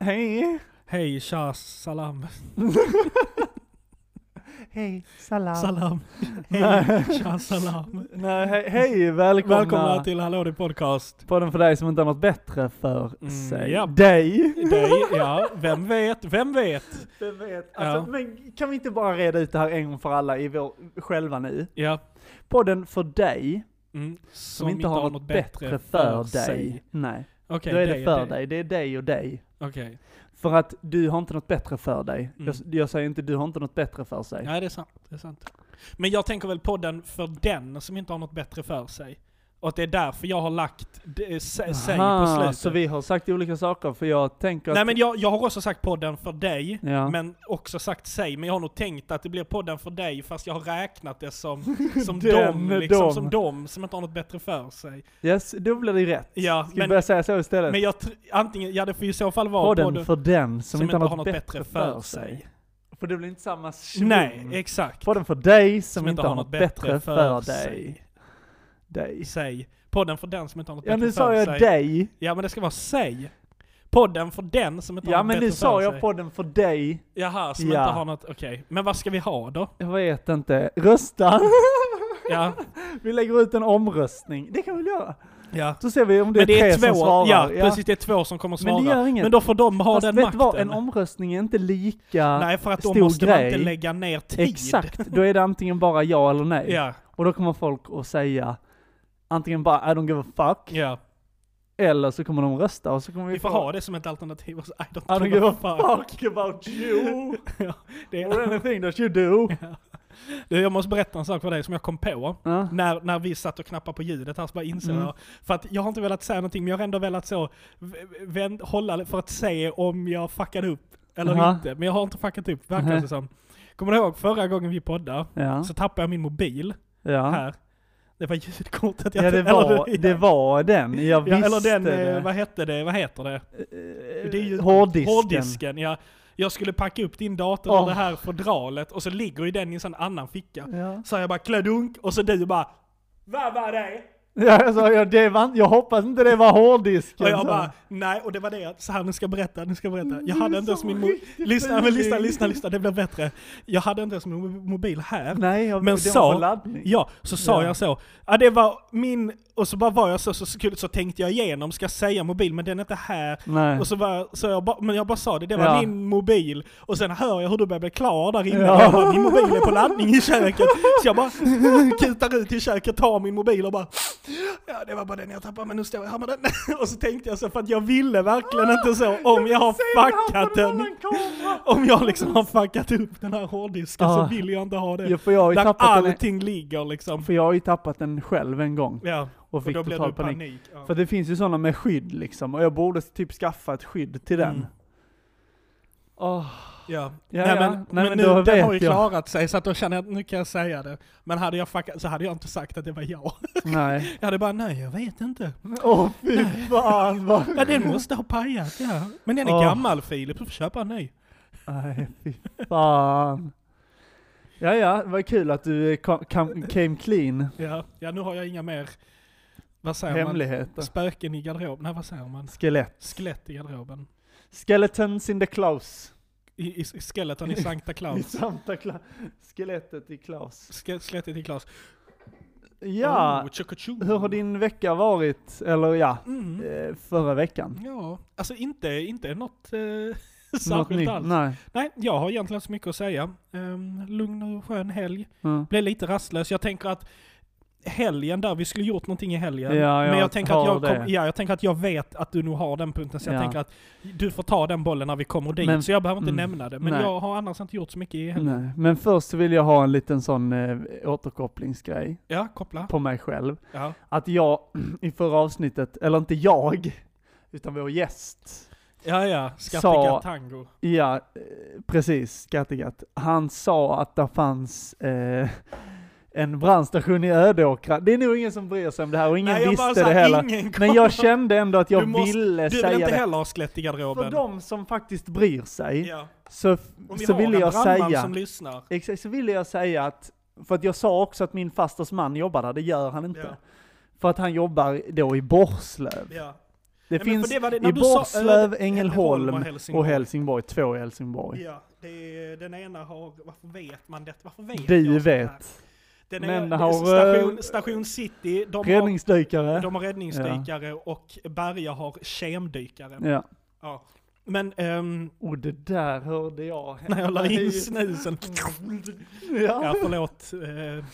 Hej! Hej, tja, salam, Hej, salam. salam. Hej, Nej. tja, salam. Nej, hej, hej välkomna. Välkomna till Hallå din podcast. Podden för dig som inte har något bättre för Mm, sig. ja. Dig! Dig, ja, vem vet, vem vet? Vem vet. Ja. Alltså, Men kan vi inte bara reda ut det här en gång för alla i vår, själva nu? Ja. Podden för dig Mm. som, Som, inte har något bättre för dig. Nej, Okej, då är det för dig. Det är dig och dig. Okej, För att du har inte något bättre för dig. Mm. Jag, jag säger inte du har inte något bättre för sig. nej det är sant. Det är sant. Men jag tänker väl podden för den som inte har något bättre för sig. Och att det är därför jag har lagt det, se, sig på Aha, slutet. så vi har sagt olika saker för jag tänker Nej att... men jag, jag har också sagt podden för dig. ja. Men också sagt sig, men jag har nog tänkt att det blir podden för dig fast jag har räknat det som, som Den dem, liksom, dem. som dem som inte har något bättre för sig. Yes, då blir det ju rätt. Ja, Ska vi men, börja säga så istället? men jag tr- antingen, ja det får ju i så fall vara podden, podden för den som, inte har något bättre för sig. För det blir inte samma Nej, exakt. Podden för dig som, inte har något bättre för dig. sig. dig. Sig. Podden för den som inte har något Ja bättre nu för sa jag sig. dig. Ja men det ska vara sig. Podden för den som inte Ja har något men bättre nu sa för jag sig. podden för dig. Jaha, som Ja. inte har något, okej. Men vad ska vi ha då? Jag vet inte. Rösta! Ja, vi lägger ut en omröstning. Det kan vi väl göra? ja. Så ser vi om det är, Men det är tre som svarar. två, ja, precis det är två som kommer svara. Men det gör inget. Men då får de ha Fast den vet du makten. vad, en omröstning är inte lika... Nej, för att då stor måste man inte grej. lägga ner tid. Exakt, då är det antingen bara ja eller nej. Ja, Och då kommer folk att säga antingen bara I don't give a fuck, ja. eller så kommer de rösta och så kommer vi, Vi får ha det som ett alternativ. också. I I don't don't give give a a fuck. fuck about you Ja, det or är, anything that you do. du, jag måste berätta en sak för dig som jag kom på. Ja. När, när vi satt och knappade på ljudet här så bara insåg Mm. jag. För att jag har inte velat säga någonting men jag har ändå velat så, v- vänd, hålla för att se om jag fuckade upp eller Aha. inte. Men jag har inte fuckat upp, verkar Mhm. det som. Kommer du ihåg förra gången vi poddade? Ja. Så tappade jag min mobil Ja. här. Det var ljudkortet ja, det eller var, det var den. Jag Ja, visste eller den, eh, det. Eh, vad hette det, vad heter det? det är ju- Hårddisken. Hårddisken, ja. Jag skulle packa upp din dator ur Åh. det här fodralet och så ligger ju den i en sån annan ficka. Ja. Så jag bara kladunk och så du bara Vad var det? Ja, alltså, jag, det var, jag hoppas inte det var hårddisken. Och jag så. bara nej och det var det, så här nu ska jag berätta, nu ska jag berätta. Jag Du hade är inte ens så min mobil, riktigt lyssna, men lyssna, vidrig. lyssna, lyssna, det blir bättre. Jag hade inte ens min mo- mobil här. Nej, jag, Men det sa- var på laddning. Ja, så sa Ja. jag så. Ja, det var min, och så bara var jag så, så, skulle, så tänkte jag igenom, ska jag säga mobil men den är inte här. Nej. Och så var, så jag bara, men jag bara sa det, det var Ja. min mobil. Och sen hör jag hur du börjar bli klar där inne. Ja. Jag bara, min mobil är på laddning i köket. Så jag bara kutar ut i köket, tar min mobil och bara Ja det var bara den jag tappade men nu står jag här med den. Och så tänkte jag så för att jag ville Ah, verkligen inte så om jag har fuckat den. Om jag liksom har fuckat upp den här hårddisken så Ah. vill jag inte ha det. Ja, för jag har ju Där tappat den, allting ligger liksom. för jag har ju tappat den själv en gång. Ja, Och och fick då blir total det panik. panik. Ja. För det finns ju sådana med skydd liksom, och jag borde typ skaffa ett skydd till den. Mm. Åh, Ja. Ja, nej, ja. Men, Nej, men, men nu, då den vet har ju jag. klarat sig så att då känner jag att nu kan jag säga det. Men hade jag fuckat så hade jag inte sagt att det var jag. nej. Jag hade bara nej jag vet inte. Åh fy fan vad... Ja, den måste ha pajat ja. Men den är Mm. Åh. gammal Filip, du får köpa en ny. Nej fy fan. Ja ja, vad kul att du eh, kom, kam- came clean. Ja. ja nu har jag inga mer, vad säger Hemligheter. man? Spöken i garderoben, nej vad säger man? Skelett. Skelett i garderoben. Skeletons in the Klaus. I, i skeleton i Sankta I Claus. Santa Claus. Skelettet i Klaus. Ske, skelettet i Claus. Ja, Oh, tjockotjo. hur har din vecka varit? Eller ja, Mm. eh, förra veckan. Ja, alltså inte, inte något eh, Något särskilt nytt? alls. Nej. Nej, jag har egentligen inte så mycket att säga. Um, lugn och skön helg. Mm. Blev lite rastlös. Jag tänker att helgen där, vi skulle gjort någonting i helgen. Ja, men jag jag tänker, att tar jag det. kom, ja, jag tänker att jag vet att du nog har den punkten, så jag Ja. tänker att du får ta den bollen när vi kommer dit. Men- så jag behöver inte mm, nämna det. Men nej. jag har annars inte gjort så mycket i helgen. Nej, men först så vill jag ha en liten sån eh, återkopplingsgrej Ja, koppla. på mig själv. Ja. Att jag i förra avsnittet, eller inte jag, utan vår gäst, ja, ja. Sa- Skattiga tango. ja eh, precis, Skattegatt, han sa att det fanns eh, en brandstation i Ödåkra. Det är nog ingen som bryr sig om det här och ingen jag visste bara så här, det heller. Ingen kom. Men jag kände ändå att jag Du måste- ville Du vill säga inte det. heller ha skelett i garderoben. För de som faktiskt bryr sig, Ja. så, Om vi så har ville en jag brandman säga som lyssnar. Exakt, så ville jag säga att, för att jag sa också att min fasters man jobbar där, det gör han inte. Ja. För att han jobbar då i Borslöv. Ja. Det men finns för det var det- när i du sa Borslöv, Öde- Ängelholm och Helsingborg. Helsingborg. Två i Helsingborg. Ja, det är, den ena har, varför vet man det? Varför vet jag Du sånt här? vet. Den Men är, har, eh, station, station City, de har, Räddningsdykare. de har räddningsdykare och Berga har kemdykare. Ja. Ja. Men ehm, Och det där hörde jag. när jag la in snusen, ja Ja. förlåt. eh,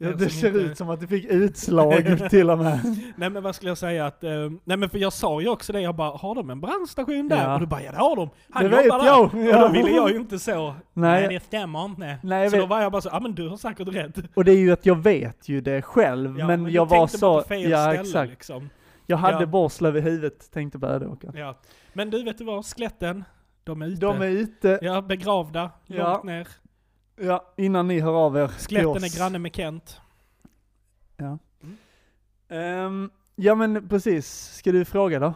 Ja, jag det som ser inte- ut som att det fick utslag till och med. Nej men vad skulle jag säga att, eh, nej men för jag sa ju också det, jag bara har de en brandstation där? Ja. Och du bara ja det har de, han Det jobbar vet där. jag. Ja. Och då ville jag ju inte så, nej, Nej, det stämmer inte. Nej, jag så då vet. var jag bara så, ja men du har säkert rätt. och det är ju att jag vet ju det själv, Ja, men, du jag var tänkte bara så... på fel Ja, ställe, exakt. Liksom. Jag hade Ja. Borslöv i huvudet, tänkte på Ödeåker. Ja. Men du, vet du vad? Skletten, de är ute. De är ute, Ja, begravda, Ja. långt ner. ja, innan ni hör av er till Skletten oss. är granne med Kent. Ehm, ja men precis, ska du fråga då?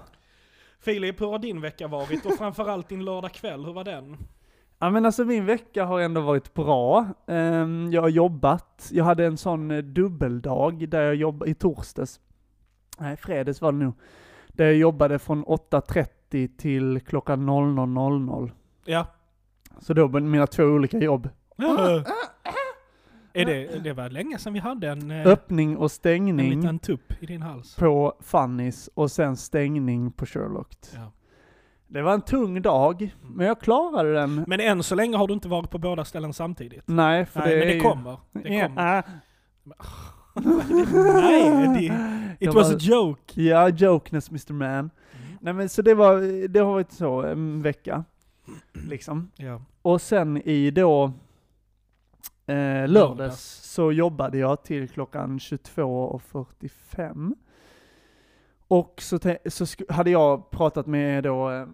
Filip, hur har din vecka varit? Och framförallt din lördagkväll, hur var den? Ja men alltså min vecka har ändå varit bra. Ehm, jag har jobbat, jag hade en sån eh, dubbeldag där jag jobbade i torsdags, nej fredags var det nog, där jag jobbade från 8.30 till klockan 00.00. Ja. Så då var mina två olika jobb, Ah, är det, det var länge sedan vi hade en, eh, öppning och en stängning liten tupp i din hals. på Fannys och sen stängning på Sherlock. Ja. Det var en tung dag, men jag klarade den. Men än så länge har du inte varit på båda ställen samtidigt. Nej, för Nej, det men är det ju- kommer. Det Ja, kommer. ah. Nej, det, Jag it was bara- a joke. Ja, jokeness Mr Man. Mm. Nej men så det var, det har varit så en vecka. Liksom. Ja. Och sen i då eh, lördags, Lördags. så jobbade jag till klockan 22.45. Och så, tä- så sku- hade jag pratat med då eh, eh,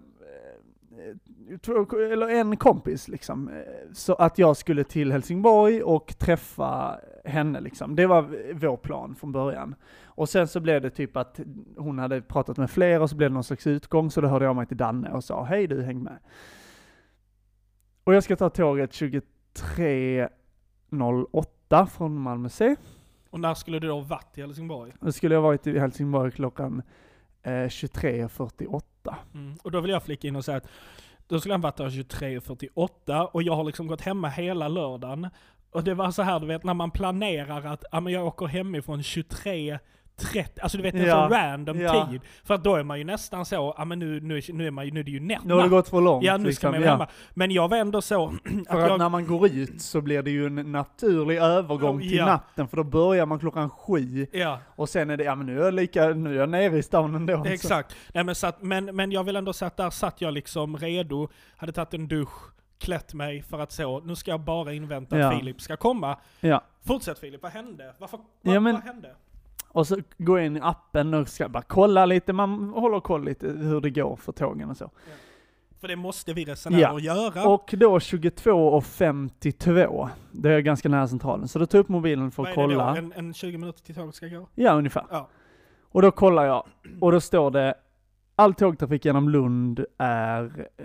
två, eller en kompis liksom, eh, så att jag skulle till Helsingborg och träffa henne liksom. Det var v- vår plan från början. Och sen så blev det typ att hon hade pratat med fler och så blev det någon slags utgång, så då hörde jag mig till Danne och sa hej du, häng med. Och jag ska ta tåget 23.08 från Malmö C. Och när skulle du då varit i Helsingborg? Då skulle jag varit i Helsingborg klockan eh, 23.48. Mm. Och då vill jag flika in och säga att då skulle han varit där 23.48 och jag har liksom gått hemma hela lördagen. Och det var så här, du vet när man planerar att ja, men jag åker hemifrån 23.30, alltså du vet en Ja. sån random Ja. tid. För att då är man ju nästan så, ja men nu, nu, nu, är, man, ju- nu är det ju nätt Nu har det natt. gått för långt. liksom. Ja nu ska man ju hemma. Men jag var ändå så att För att jag... när man går ut så blir det ju en naturlig övergång till Ja. natten, för då börjar man klockan sju Ja, och sen är det, ja men nu är jag, lika, nu är jag nere i stan ändå. det är Så- exakt. Nej, men, så att, men, men jag vill ändå säga att där satt jag liksom redo, hade tagit en dusch, klätt mig för att så, nu ska jag bara invänta att Ja. Filip ska komma. Ja. Fortsätt Filip, vad hände? Varför, vad, Ja, men- vad hände? Och så går jag in i appen och ska bara kolla lite, man håller koll lite hur det går för tågen och så. För det måste vi resenärer Ja. göra. Och då 22.52, det är ganska nära centralen, så då tar jag upp mobilen för Vad att är det då? kolla. En, en 20 minuter till tåget ska gå? Ja, ungefär. Ja. Och då kollar jag, och då står det, all tågtrafik genom Lund är eh,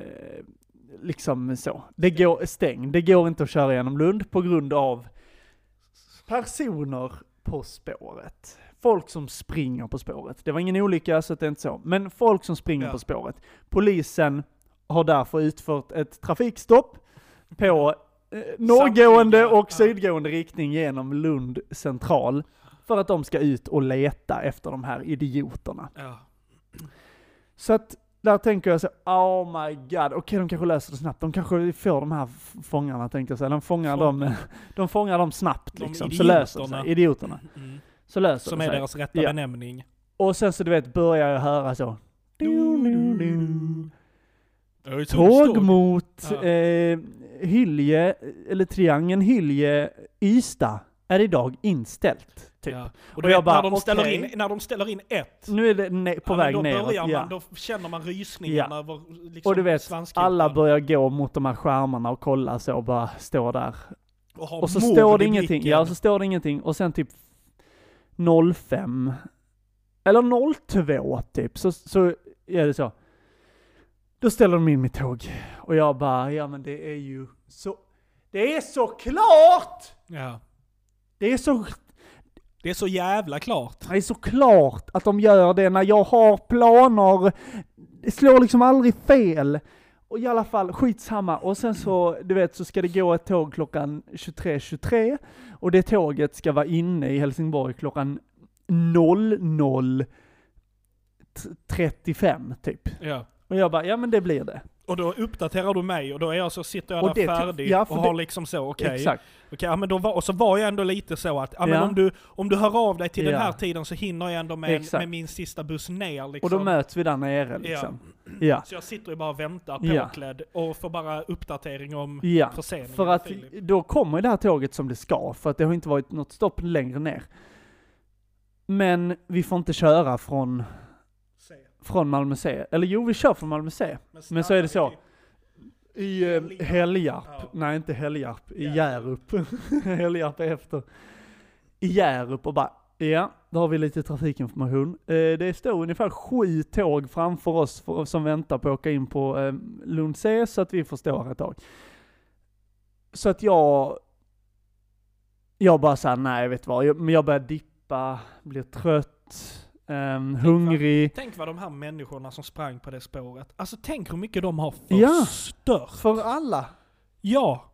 liksom så. Det går, stäng, det går inte att köra genom Lund på grund av personer på spåret. Folk som springer på spåret. Det var ingen olycka, så att det är inte så. Men folk som springer Ja. på spåret. Polisen har därför utfört ett trafikstopp på eh, norrgående Samtliga, och ja. sydgående riktning genom Lund central för att de ska ut och leta efter de här idioterna. Ja. Så att där tänker jag så, oh my god, okej de kanske löser det snabbt, de kanske får de här f- fångarna tänkte jag säga, de fångar, Fång- dem, de fångar dem snabbt De liksom, så löser det sig, idioterna. idioterna. Mm. Så löser Som det är sig. deras rätta Ja. benämning. Och sen så du vet, börjar jag höra så, Tåg Tåg mot Ja. eh, Hylje, eller triangeln Hylje, Ystad, är idag inställt. Typ. Ja. Och, Och du jag vet, bara, när, de ställer okej. in, när de ställer in ett, Nu är det ne- på ja, men väg då neråt. Börjar man, ja. Då känner man rysningarna över liksom, Och du vet, svanskotan. Alla börjar gå mot de här skärmarna och kolla så och bara stå där. och, har Och så mord står det i ingenting. blicken. Ja, och så står det ingenting. Och sen typ 05, eller 02 typ, så, så är det så. Då ställer de in mitt tåg. Och jag bara, ja men det är ju så... Det är såklart! ja. Det är så... Det är så jävla klart. Det är såklart att de gör det när jag har planer. Det slår liksom aldrig fel. Och i alla fall, skitsamma. Och sen så, du vet, så ska det gå ett tåg klockan 23.23 och det tåget ska vara inne i Helsingborg klockan 00.35 typ. Ja. Och jag bara, ja men det blir det. Och då uppdaterar du mig och då är jag så, sitter jag Och där det- färdig ja, för och har det- liksom så, okej. Exakt. Okej, ja, men då var, och så var jag ändå lite så att, ja, men Ja. om, du, om du hör av dig till den Ja. här tiden så hinner jag ändå med, Exakt. med min sista buss ner. Och Liksom. då möts vi där nere liksom. Ja. så jag sitter ju bara och väntar Ja. påklädd och får bara uppdatering om Ja. förseningen. För att Filip. då kommer det här tåget som det ska, för att det har inte varit något stopp längre ner. Men vi får inte köra från, Se. från Malmö C. Eller jo, vi kör från Malmö C. Men så är det stannar så. vi I eh, Helgarp. Helgarp. Ja. Nej, inte Helgarp. I Hjärup. Hjärup. Helgarp är efter. I Hjärup och bara, ja, då har vi lite trafikinformation. Eh, det står ungefär sju tåg framför oss för, som väntar på att åka in på eh, Lund C så att vi förstår ett tag. Så att jag, jag bara såhär, nej vet du vad, jag, men jag börjar dippa, blir trött, ehm, hungrig. Tänk vad de här människorna som sprang på det spåret, alltså tänk hur mycket de har Ja. förstört. För alla. Ja.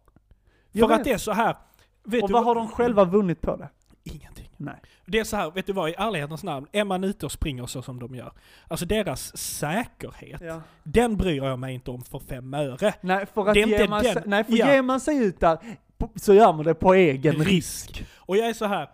Jag För att vet. det är så här. Vet Och du vad har de själva vunnit på det? Ingenting. Nej. Det är så här, vet du vad, i ärlighetens namn, är man ute och springer så som de gör, alltså deras säkerhet, den bryr jag mig inte om för fem öre. Nej, för att Det är ger inte man, den. sig, nej, för Ja. ger man sig ut där p- så gör man det på egen risk. Och jag är så här,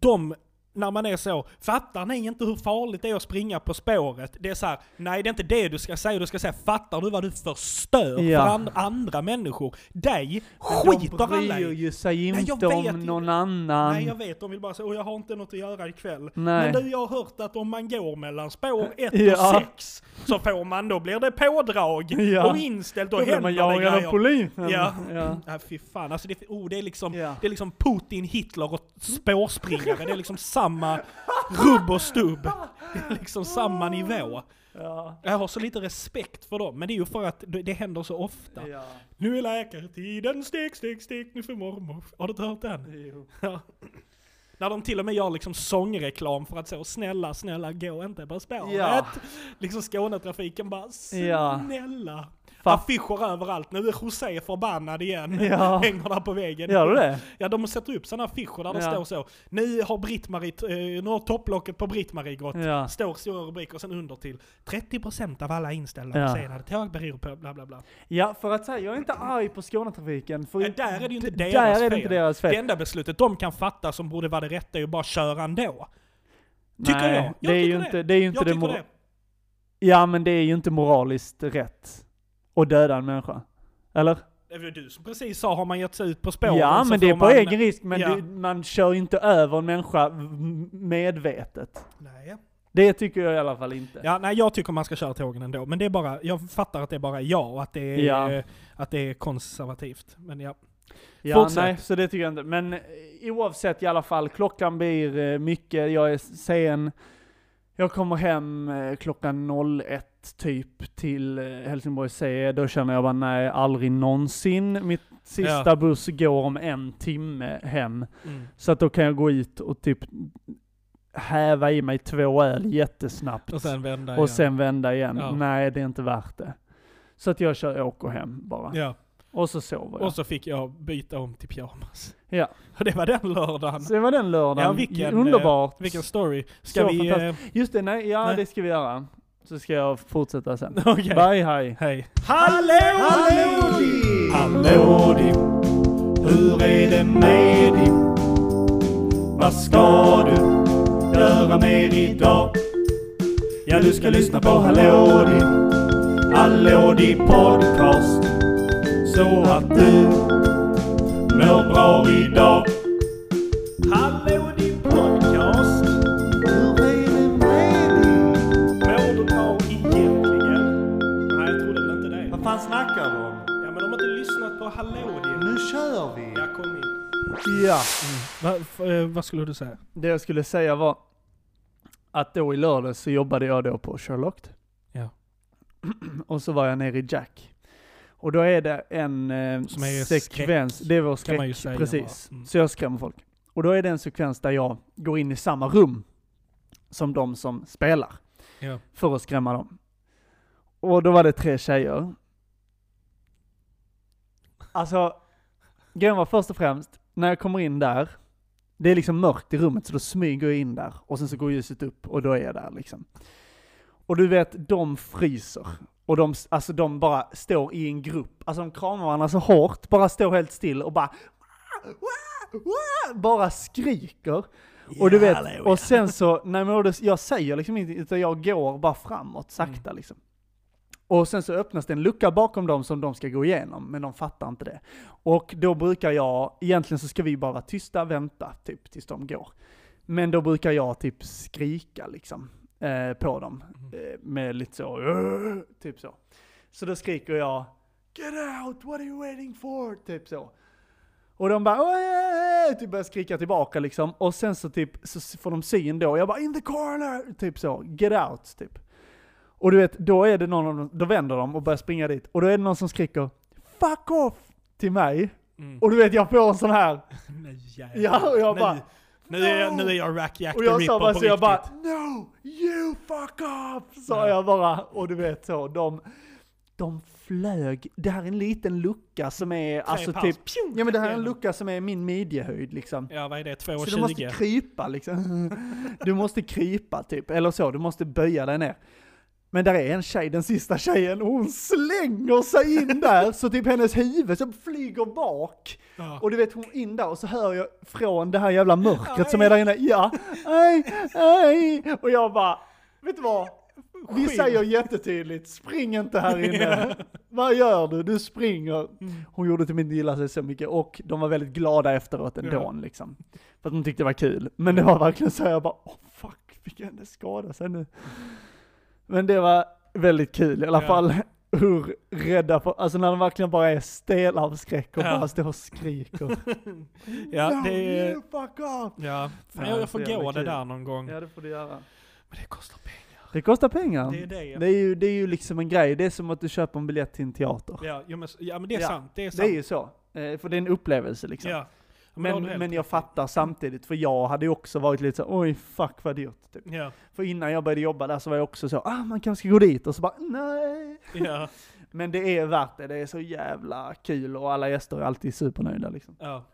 de, när man är så, fattar ni inte hur farligt det är att springa på spåret? Det är så här, nej det är inte det du ska säga, du ska säga, fattar du vad du förstör Ja. för an- andra människor? Dig De skiter alla bryr i. ju sig Nej, inte jag vet om inte. någon annan. Nej jag vet, de vill bara säga "Åh, jag har inte något att göra ikväll. Ehm. Nej. Men du, jag har hört att om man går mellan spår 1 Ja. och 6 så får man, då blir det pådrag Ja. och inställt Då och blir händer man det jagad grejer. av polisen. Ja. Ja. Nej fy fan, alltså det, oh, det, är liksom, Ja. det är liksom Putin, Hitler och spårspringare. Det är liksom samma rubb och stubb. Det är liksom samma nivå. Ja. Jag har så lite respekt för dem, men det är ju för att det, det händer så ofta. Nu är läkartiden, stek, stek, stek, nu för mormor. Har du inte hört den? Jo. Ja. När de till och med gör liksom sångreklam för att så snälla, snälla gå inte på spåret. Ja. Liksom Skånetrafiken bara Ja. snälla. Fan. Affischer överallt, nu är José förbannad igen. Ja. Hänger där på väggen. Gör du det? Ja, de sätter upp sådana affischer där det Ja. står så. Nu har Britt-Marie, t- eh, nu har topplocket på Britt-Marie gått. Ja. Står stora rubriker och sen under till 30% av alla inställda Ja. försenade tåg beror på bla bla bla. Ja, för att säga, jag är inte arg på Skånetrafiken. För Ja, där är det ju inte d- deras där är det fel. inte deras fel. Det enda beslutet de kan fatta som borde vara det rätta är ju bara köra ändå. Tycker Nej, jag. jag det, är tycker ju inte, det är ju inte jag det, tycker mor- det. Ja, men det är ju inte moraliskt rätt att döda en människa. Eller? Det var du som precis sa, har man gett sig ut på spåren ja, så men får det är på man... egen risk. Men Ja. det, man kör ju inte över en människa m- medvetet. Nej. Det tycker jag i alla fall inte. Ja, nej, jag tycker man ska köra tågen ändå. Men det är bara, jag fattar att det är bara jag och att det är, Ja. att det är konservativt. Men ja. Ja, Fortsätt. nej, så det tycker jag inte. Men eh, oavsett i alla fall, klockan blir eh, mycket, jag är sen. Jag kommer hem eh, klockan 01 typ till eh, Helsingborg C. Då känner jag bara nej, aldrig någonsin. Mitt sista Ja. buss går om en timme hem. Mm. Så att då kan jag gå hit och typ häva i mig två öl jättesnabbt. Och sen vända och sen vända igen. Ja. Nej, det är inte värt det. Så att jag kör, åker hem bara. Ja. Och så sover jag. Och så fick jag byta om till pyjamas. Ja. Och det var den lördagen. Så det var den lördagen. Ja, vilken, eh, Underbart. Vilken story. Ska Så vi... Eh, Just det, nej, ja Nej. det ska vi göra. Så ska jag fortsätta sen. Okej. Bye, hej. Hej. Hallå! Hallå Dipp! Hur är det med Dipp? Vad ska du göra mer idag? Ja, du ska lyssna på Hallå Dipp, Hallå Dipp podcast. Så att du mår bra idag. Hallå Dipp podcast. Hur är det med Dipp? Mår du bra egentligen? Nej, jag trodde väl inte det. Vad fan snackar du om? Ja men de har inte lyssnat på Hallå din. Nu kör vi! Jag kom in. Ja. eh, vad skulle du säga? Det jag skulle säga var att då i lördags så jobbade jag då på Sherlock. Ja. Och så var jag nere i Jack. Och då är det en eh, Som är sekvens, skräck, det är vår Kan man skräck, ju säga. precis. bara. Mm. Så jag skrämmer folk. Och då är det en sekvens där jag går in i samma rum som de som spelar Ja. för att skrämma dem. Och då var det tre tjejer. Alltså, grejen var först och främst, när jag kommer in där, det är liksom mörkt i rummet så då smyger jag in där och sen så går ljuset upp och då är jag där liksom. Och du vet, de fryser. Och de, alltså de bara står i en grupp, alltså de kramar varandra så hårt, bara står helt still och bara bara skriker. Och du vet, och sen så, nej men och det- jag säger liksom inte, utan jag går bara framåt sakta liksom. Och sen så öppnas det en lucka bakom dem som de ska gå igenom, men de fattar inte det. Och då brukar jag, egentligen så ska vi bara vara tysta, vänta typ tills de går. Men då brukar jag typ skrika liksom eh, på dem. Eh, med lite så, "Åh!" typ så. Så då skriker jag Get out, what are you waiting for? Typ så. Och de bara "Åh, eh, eh", typ börjar skrika tillbaka liksom. Och sen så typ så får de syn då. Jag bara in the corner! Typ så. Get out! Typ. Och du vet, då är det någon av dem, då vänder de och börjar springa dit. Och då är det någon som skriker Fuck off! Till mig. Mm. Och du vet, jag får en sån här. Nej, jävlar. Ja, och jag Nej. bara, Nu är jag, nu är jag Rack Jack the och jag sa Ripper bara på så jag riktigt. bara No! You fuck up! Sa Ja. jag bara. Och du vet så, de, de flög. Det här är en liten lucka som är alltså paus. typ... Pjong! Ja men det här är en Igenom. lucka som är min midjehöjd liksom. Ja, vad är det? Så du måste 2,20? krypa liksom. Du måste krypa typ, eller så, du måste böja dig ner. Men där är en tjej, den sista tjejen, och hon slänger sig in där, så typ hennes huvud så flyger bak. Ja. Och du vet hon in där och så hör jag från det här jävla mörkret som är där inne, ja, aj, aj. Och jag bara, vet du vad? Vi Skit. säger jättetydligt, spring inte här inne. Vad gör du? Du springer. Hon gjorde till min gilla sig så mycket och de var väldigt glada efteråt ändå Ja. liksom. För att de tyckte det var kul. Men det var verkligen så här, jag bara, åh fuck, fick jag henne skada sig nu? Men det var väldigt kul i alla Ja. fall. Hur rädda, för, alltså när de verkligen bara är stela av skräck och Ja. bara står och skriker. Ja, No, det är... you fuck up! Ja, Ja, Fan, jag så får jävla gå det kul. där någon gång. Ja det får du göra. Men det kostar pengar. Det kostar pengar. Det är det, ja. det, är ju, det är ju liksom en grej, det är som att du köper en biljett till en teater. Ja, jo, men, ja men det är Ja, sant. Det är sant. Det är ju så. Eh, För det är en upplevelse liksom. ja. Men, då har du men, helt jag rätt. fattar samtidigt, för jag hade ju också varit lite så oj fuck vad dyrt. Typ. Ja, För innan jag började jobba där så var jag också så, ah man kanske ska gå dit, och så bara nej. ja, Men det är värt det, det är så jävla kul och alla gäster är alltid supernöjda liksom. ja.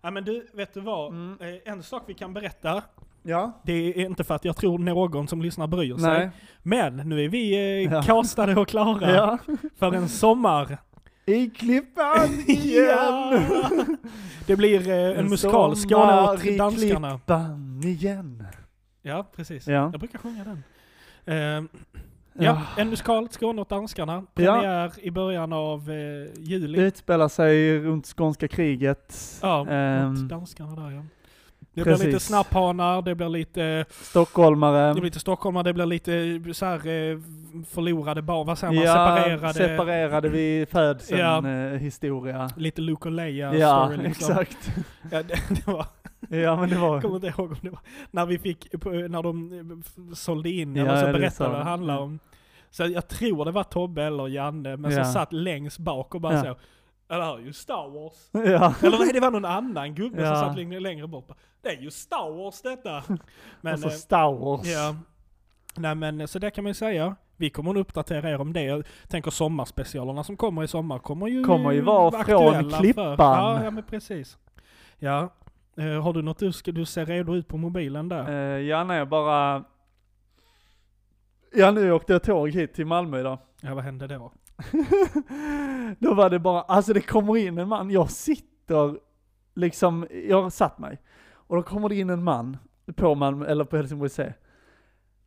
Ja men du, vet du vad? Mm. Eh, En sak vi kan berätta, Ja. det är inte för att jag tror någon som lyssnar bryr sig. Nej. Men nu är vi eh, Ja. castade och klara Ja. för en sommar. I Klippan Ja. igen! Det blir eh, en musikal, Skåne Sommar åt i danskarna. Klippan igen. Ja, precis. Ja. Jag brukar sjunga den. Ehm, ja, Ah. en musikal, Skåne åt danskarna. Premiär i början av eh, juli. Utspelar sig runt skånska kriget. Ja, Ehm, mot danskarna där ja. Det blir precis. Ehm. lite snapphanar, det blir lite, eh, Stockholmare. det blir lite stockholmare, det blir lite eh, så här eh, förlorade barn, vad säger man, ja, separerade. separerade vid födseln Ja. eh, historia. Lite Luke och Leia Ja, story liksom. exakt. Ja, det, det var, Ja men det jag var... kommer inte ihåg om det var, när vi fick, på- när de eh, f- sålde in Ja, eller så det berättade sa vad det de. handlade om. Så jag tror det var Tobbe eller Janne, men Ja. som satt längst bak och bara Ja. så, "Ja, det här är ju Star Wars. Ja. Eller nej, det var någon annan gubbe Ja. som satt längre, längre bort. Det är ju Star Wars detta! Men, Men, och så Alltså, Star Wars. eh, ja. Nej men så det kan man ju säga. Vi kommer att uppdatera er om det. Jag tänker sommarspecialerna som kommer i sommar kommer ju Kommer ju vara från aktuella Klippan. För. Ja, ja men precis. Ja. Eh, har du något du ska, du ser redo ut på mobilen där? Eh, ja nej jag bara... Ja nu åkte jag tåg hit till Malmö idag. Ja vad hände då? Då var det bara, alltså det kommer in en man, jag sitter liksom, jag har satt mig. Och då kommer det in en man på Malmö, eller på Helsingborg C.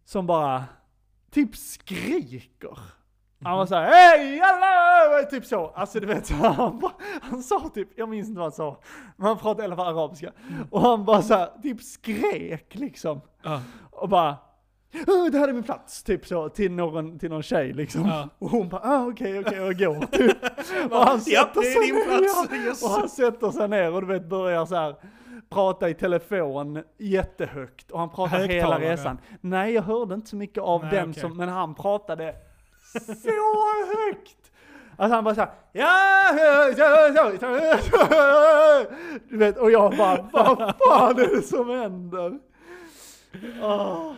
Som bara, typ skriker. Han var såhär, hej alla! Typ så. Alltså du vet, så här, han, bara, han sa typ, jag minns inte vad han sa. Men han pratade i alla fall arabiska. Och han bara såhär, typ skrek liksom. Ja. Och bara, "Åh, det här är min plats, typ så, till någon, till någon tjej liksom. Ja. Och hon bara, ah, okej, okej, och går typ. och han sätter det är sig din plats, ner, yes. och han sätter sig ner och du vet börjar så här prata i telefon jättehögt och han pratar hela Högtalare. resan. Nej, jag hörde inte så mycket av Nej, den okej. som, men han pratade så högt! Alltså han bara såhär, ja, ja, ja, ja, ja, ja." du vet, och jag bara, vad fan är det som händer? Åh,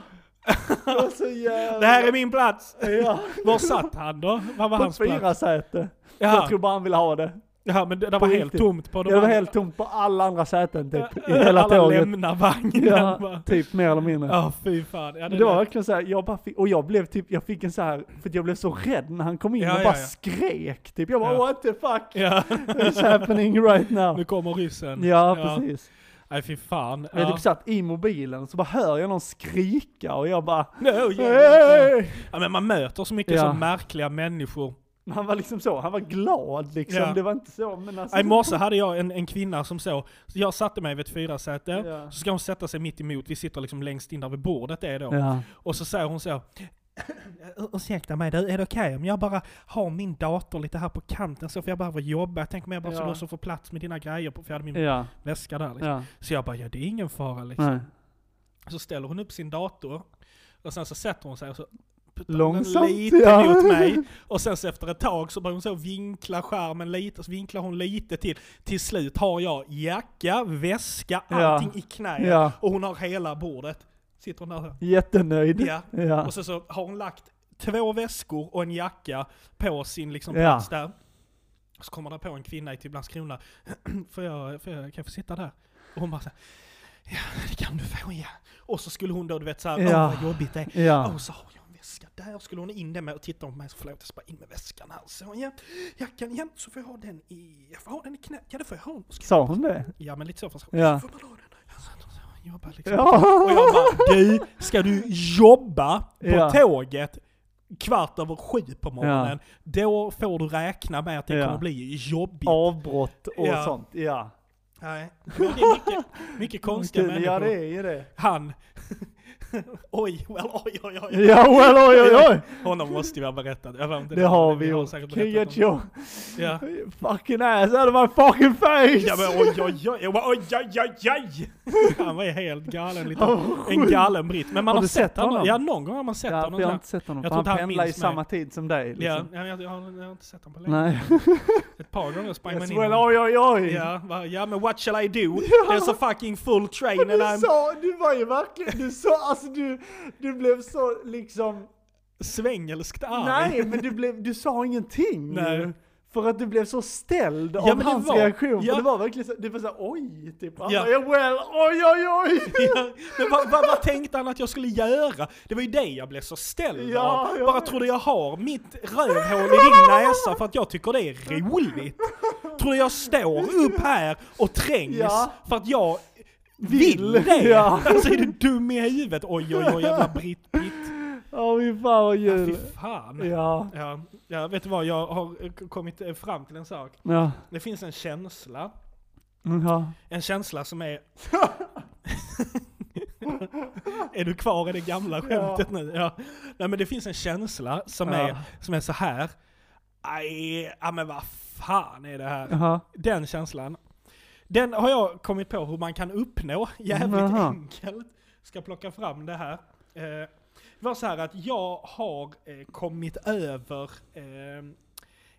det var så jävla... Det här är min plats! Ja, Var satt han då? Vad var på ett hans plats? fyrasäte. Jag Jaha, tror bara han ville ha det. ja, men det, det på var helt riktigt. tomt på Ja, de det var andra. helt tomt på alla andra säten typ, i hela Alla tåget. lämnar vagnen Ja, bara. typ mer eller mindre. Ja, fy fan. Ja, Men det var där- verkligen såhär, jag bara fick, och jag blev typ, jag fick en så här för att jag blev så rädd när han kom in Ja, och bara ja, ja. skrek typ. Jag bara Ja. what the fuck Ja, is happening right now? nu kommer ryssen. Ja, precis. Nej, fy fan. Men Jag typ satt i mobilen så bara hör jag någon skrika och jag bara No, yeah. hey! ja, men man möter så mycket Ja. så märkliga människor. Men Han var liksom så, han var glad liksom. Ja. Det var inte så men alltså. Ja, I morse hade jag en, en kvinna som så, så jag satte mig vid ett fyrasäte, Ja. så ska hon sätta sig mitt emot, vi sitter liksom längst in där vid bordet är då. Ja. Och så säger hon så, ursäkta mig du, är det okej om jag bara har min dator lite här på kanten så för jag behöver jobba, jag tänker mig jag bara så Ja. låser få plats med dina grejer, på, för jag hade min Ja. väska där liksom. Ja. Så jag bara, ja det är ingen fara liksom. Nej. Så ställer hon upp sin dator, och sen så sätter hon sig och så puttar hon den Långsamt. lite ja. mot mig. Och sen så efter ett tag så börjar hon så vinkla skärmen lite, så vinklar hon lite till. Till slut har jag jacka, väska, Ja. allting i knäet. Ja. Och hon har hela bordet. Sitter hon där så här. Jättenöjd. Ja. Ja. Och så, så har hon lagt två väskor och en jacka på sin liksom Ja. plats där. Och så kommer det på en kvinna i typ Landskrona. får jag, får jag, kan jag få sitta där? Och hon bara så här, ja det kan du få ja. Och så skulle hon då du vet såhär, Ja. åh vad jobbigt det är. Ja. Åh, så har jag en väska där. Skulle hon in den med och titta på mig så förlåt, jag ska bara in med väskan här. Så ja, jackan igen, så får jag ha den i, jag får ha den i knät. Ja, det får jag ha. Och så- Sa hon det? Ja, men lite så fast. Ja. Får man ha den? Jag satt och så jobbade liksom. Och Ja. jag bara, du, ska du jobba på Ja. tåget kvart över sju på morgonen, då får du räkna med att det Ja. kommer bli jobbigt. Avbrott och Ja. sånt. Ja. Nej. Det är mycket, mycket konstiga Kul, Ja människor. det är ju det. Han, oj, well, oj, oj, oj. Ja, well, oj, oj, oj! Honom måste vi ha berättat. Jag vet inte, Det har vi har gjort. säkert Can you berättat get om- your Ja. fucking ass out of my fucking face! Ja men oj oj oj, jag bara, oj oj oj oj! Han var ju helt galen liten, en galen britt. Men man Har har, du sett sett honom? honom? Ja någon gång har man sett Ja, för honom. jag har sådär. inte sett honom. Jag för tror inte han han pendlar i minns samma mig. tid som dig Ja, liksom. ja, jag, jag, har, jag har inte sett honom på länge. Nej. Ett par gånger sprang man Yes, in well, honom. oj oj oj! ja, va, ja men what shall I do? There's a fucking full train Men and Du I'm sa, du var ju verkligen, du sa, alltså du, du blev så liksom, svängelskt arg. nej men du blev, du sa ingenting. Ah, Nej. För att du blev så ställd men av det hans var- reaktion. ja. För det var verkligen så, det var såhär oj, typ. Han Ja. bara, yeah, well, oj oj oj! Ja, men vad, vad, vad tänkte han att jag skulle göra? Det var ju det jag blev så ställd Ja, av. ja. Bara trodde jag har mitt rövhål i din näsa för att jag tycker det är roligt. Trodde jag står upp här och trängs Ja. för att jag vill Vill. det? Ja. Alltså är du dum i huvudet? Oj oj oj jävla britt britt. Åh fy fan vad Fy kul. fan. Ja, Ja, ja, vet du vad? Jag har eh, kommit eh, fram till en sak. ja, Det finns en känsla ja. En känsla som är... är du kvar i det gamla skämtet nu? Ja. Nej men det finns en känsla som, Ja. är, som är så här. Aj, ja men vad fan är det här? Jaha. Den känslan. Den har jag kommit på hur man kan uppnå jävligt Jaha. enkelt. Ska plocka fram det här. Eh, det var så här att jag har eh, kommit över eh,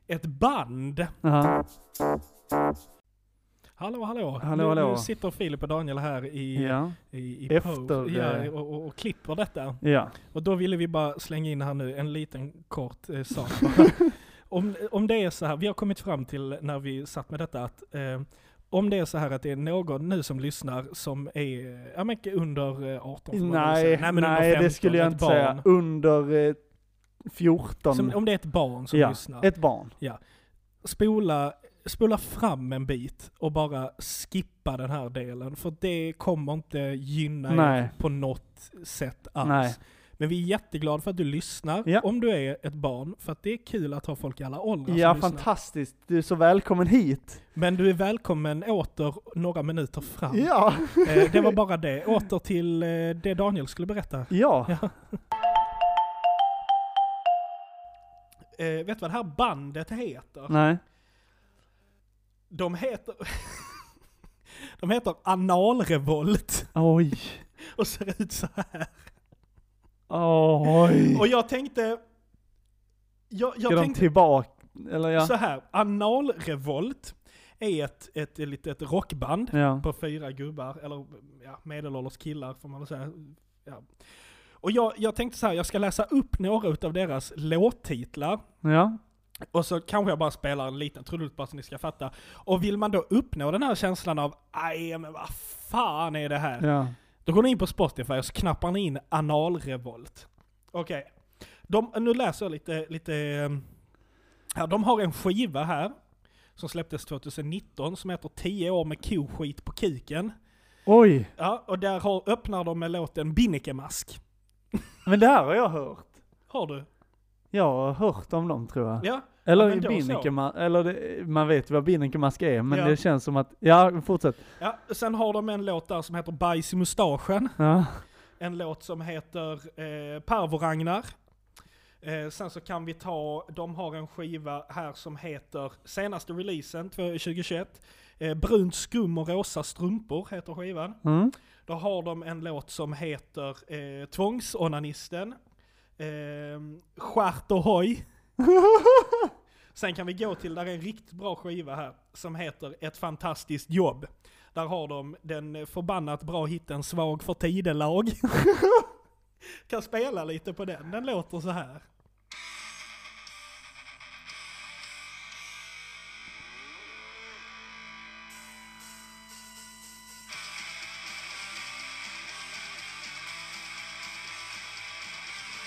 ett band. Jaha. Hallå, hallå. Hallå, nu, hallå. nu sitter Filip och Daniel här i, Ja. i, i Efter Pau- det. ja, och, och, och klipper detta. Ja. Och då ville vi bara slänga in här nu en liten kort eh, sak. bara. om, om det är så här, vi har kommit fram till när vi satt med detta att eh, om det är så här att det är någon nu som lyssnar som är eh, ja, men under eh, 18 får man väl Nej, säga. nej, men under 15, det skulle jag ett inte barn. säga. Under eh, 14. Som, om det är ett barn som ja, lyssnar. ett barn. spola, spola fram en bit och bara skippa den här delen. För det kommer inte gynna er Nej. på något sätt alls. Nej. Men vi är jätteglada för att du lyssnar, Ja. om du är ett barn. För att det är kul att ha folk i alla åldrar Ja, som lyssnar. fantastiskt. Du är så välkommen hit. Men du är välkommen åter några minuter fram. Ja. Eh, det var bara det. Åter till eh, det Daniel skulle berätta. Ja. Ja. Eh, vet du vad det här bandet heter? Nej. De heter... De heter Analrevolt Oj. och ser ut så här. Oj. Och jag tänkte... Jag, Ska jag de tänkte tillbaka? eller ja. Så här, analrevolt är ett, ett, ett litet rockband ja. på fyra gubbar, eller ja, medelålders killar får man väl säga. Ja. Och jag, jag tänkte så här, jag ska läsa upp några utav deras låttitlar. Ja. Och så kanske jag bara spelar en liten trudelutt bara så ni ska fatta. Och vill man då uppnå den här känslan av aj men vad fan är det här? Ja. Då går ni in på Spotify och så knappar ni in analrevolt. Okej. De- Nu läser jag lite, lite... ehm, Här, de har en skiva här. Som släpptes 2019 som heter 10 år med koskit på kuken. Oj! Ja, och där har, öppnar de med låten Binnikemask. Men det här har jag hört. Har du? Jag har hört om dem tror jag. Ja. Eller Ja, men då så. Binnikemask, eller det, man vet ju vad Binnikemask är, men Ja. det känns som att, ja fortsätt. ja. Sen har de en låt där som heter Bajs i mustaschen. Ja. En låt som heter eh, Parvoragnar. Eh, sen så kan vi ta, de har en skiva här som heter, senaste releasen tv- 2021, eh, Brunt skum och rosa strumpor heter skivan. Mm. Då har de en låt som heter eh, Tvångsonanisten, eh, Stjärt och hoj. Sen kan vi gå till, där är en riktigt bra skiva här, som heter Ett fantastiskt jobb. Där har de den förbannat bra hitten Svag för tidelag. kan spela lite på den, den låter så här.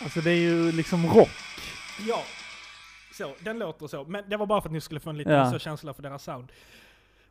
Alltså det är ju liksom rock. Ja. Så, den låter så. Men det var bara för att ni skulle få en liten Ja. så känsla för deras sound.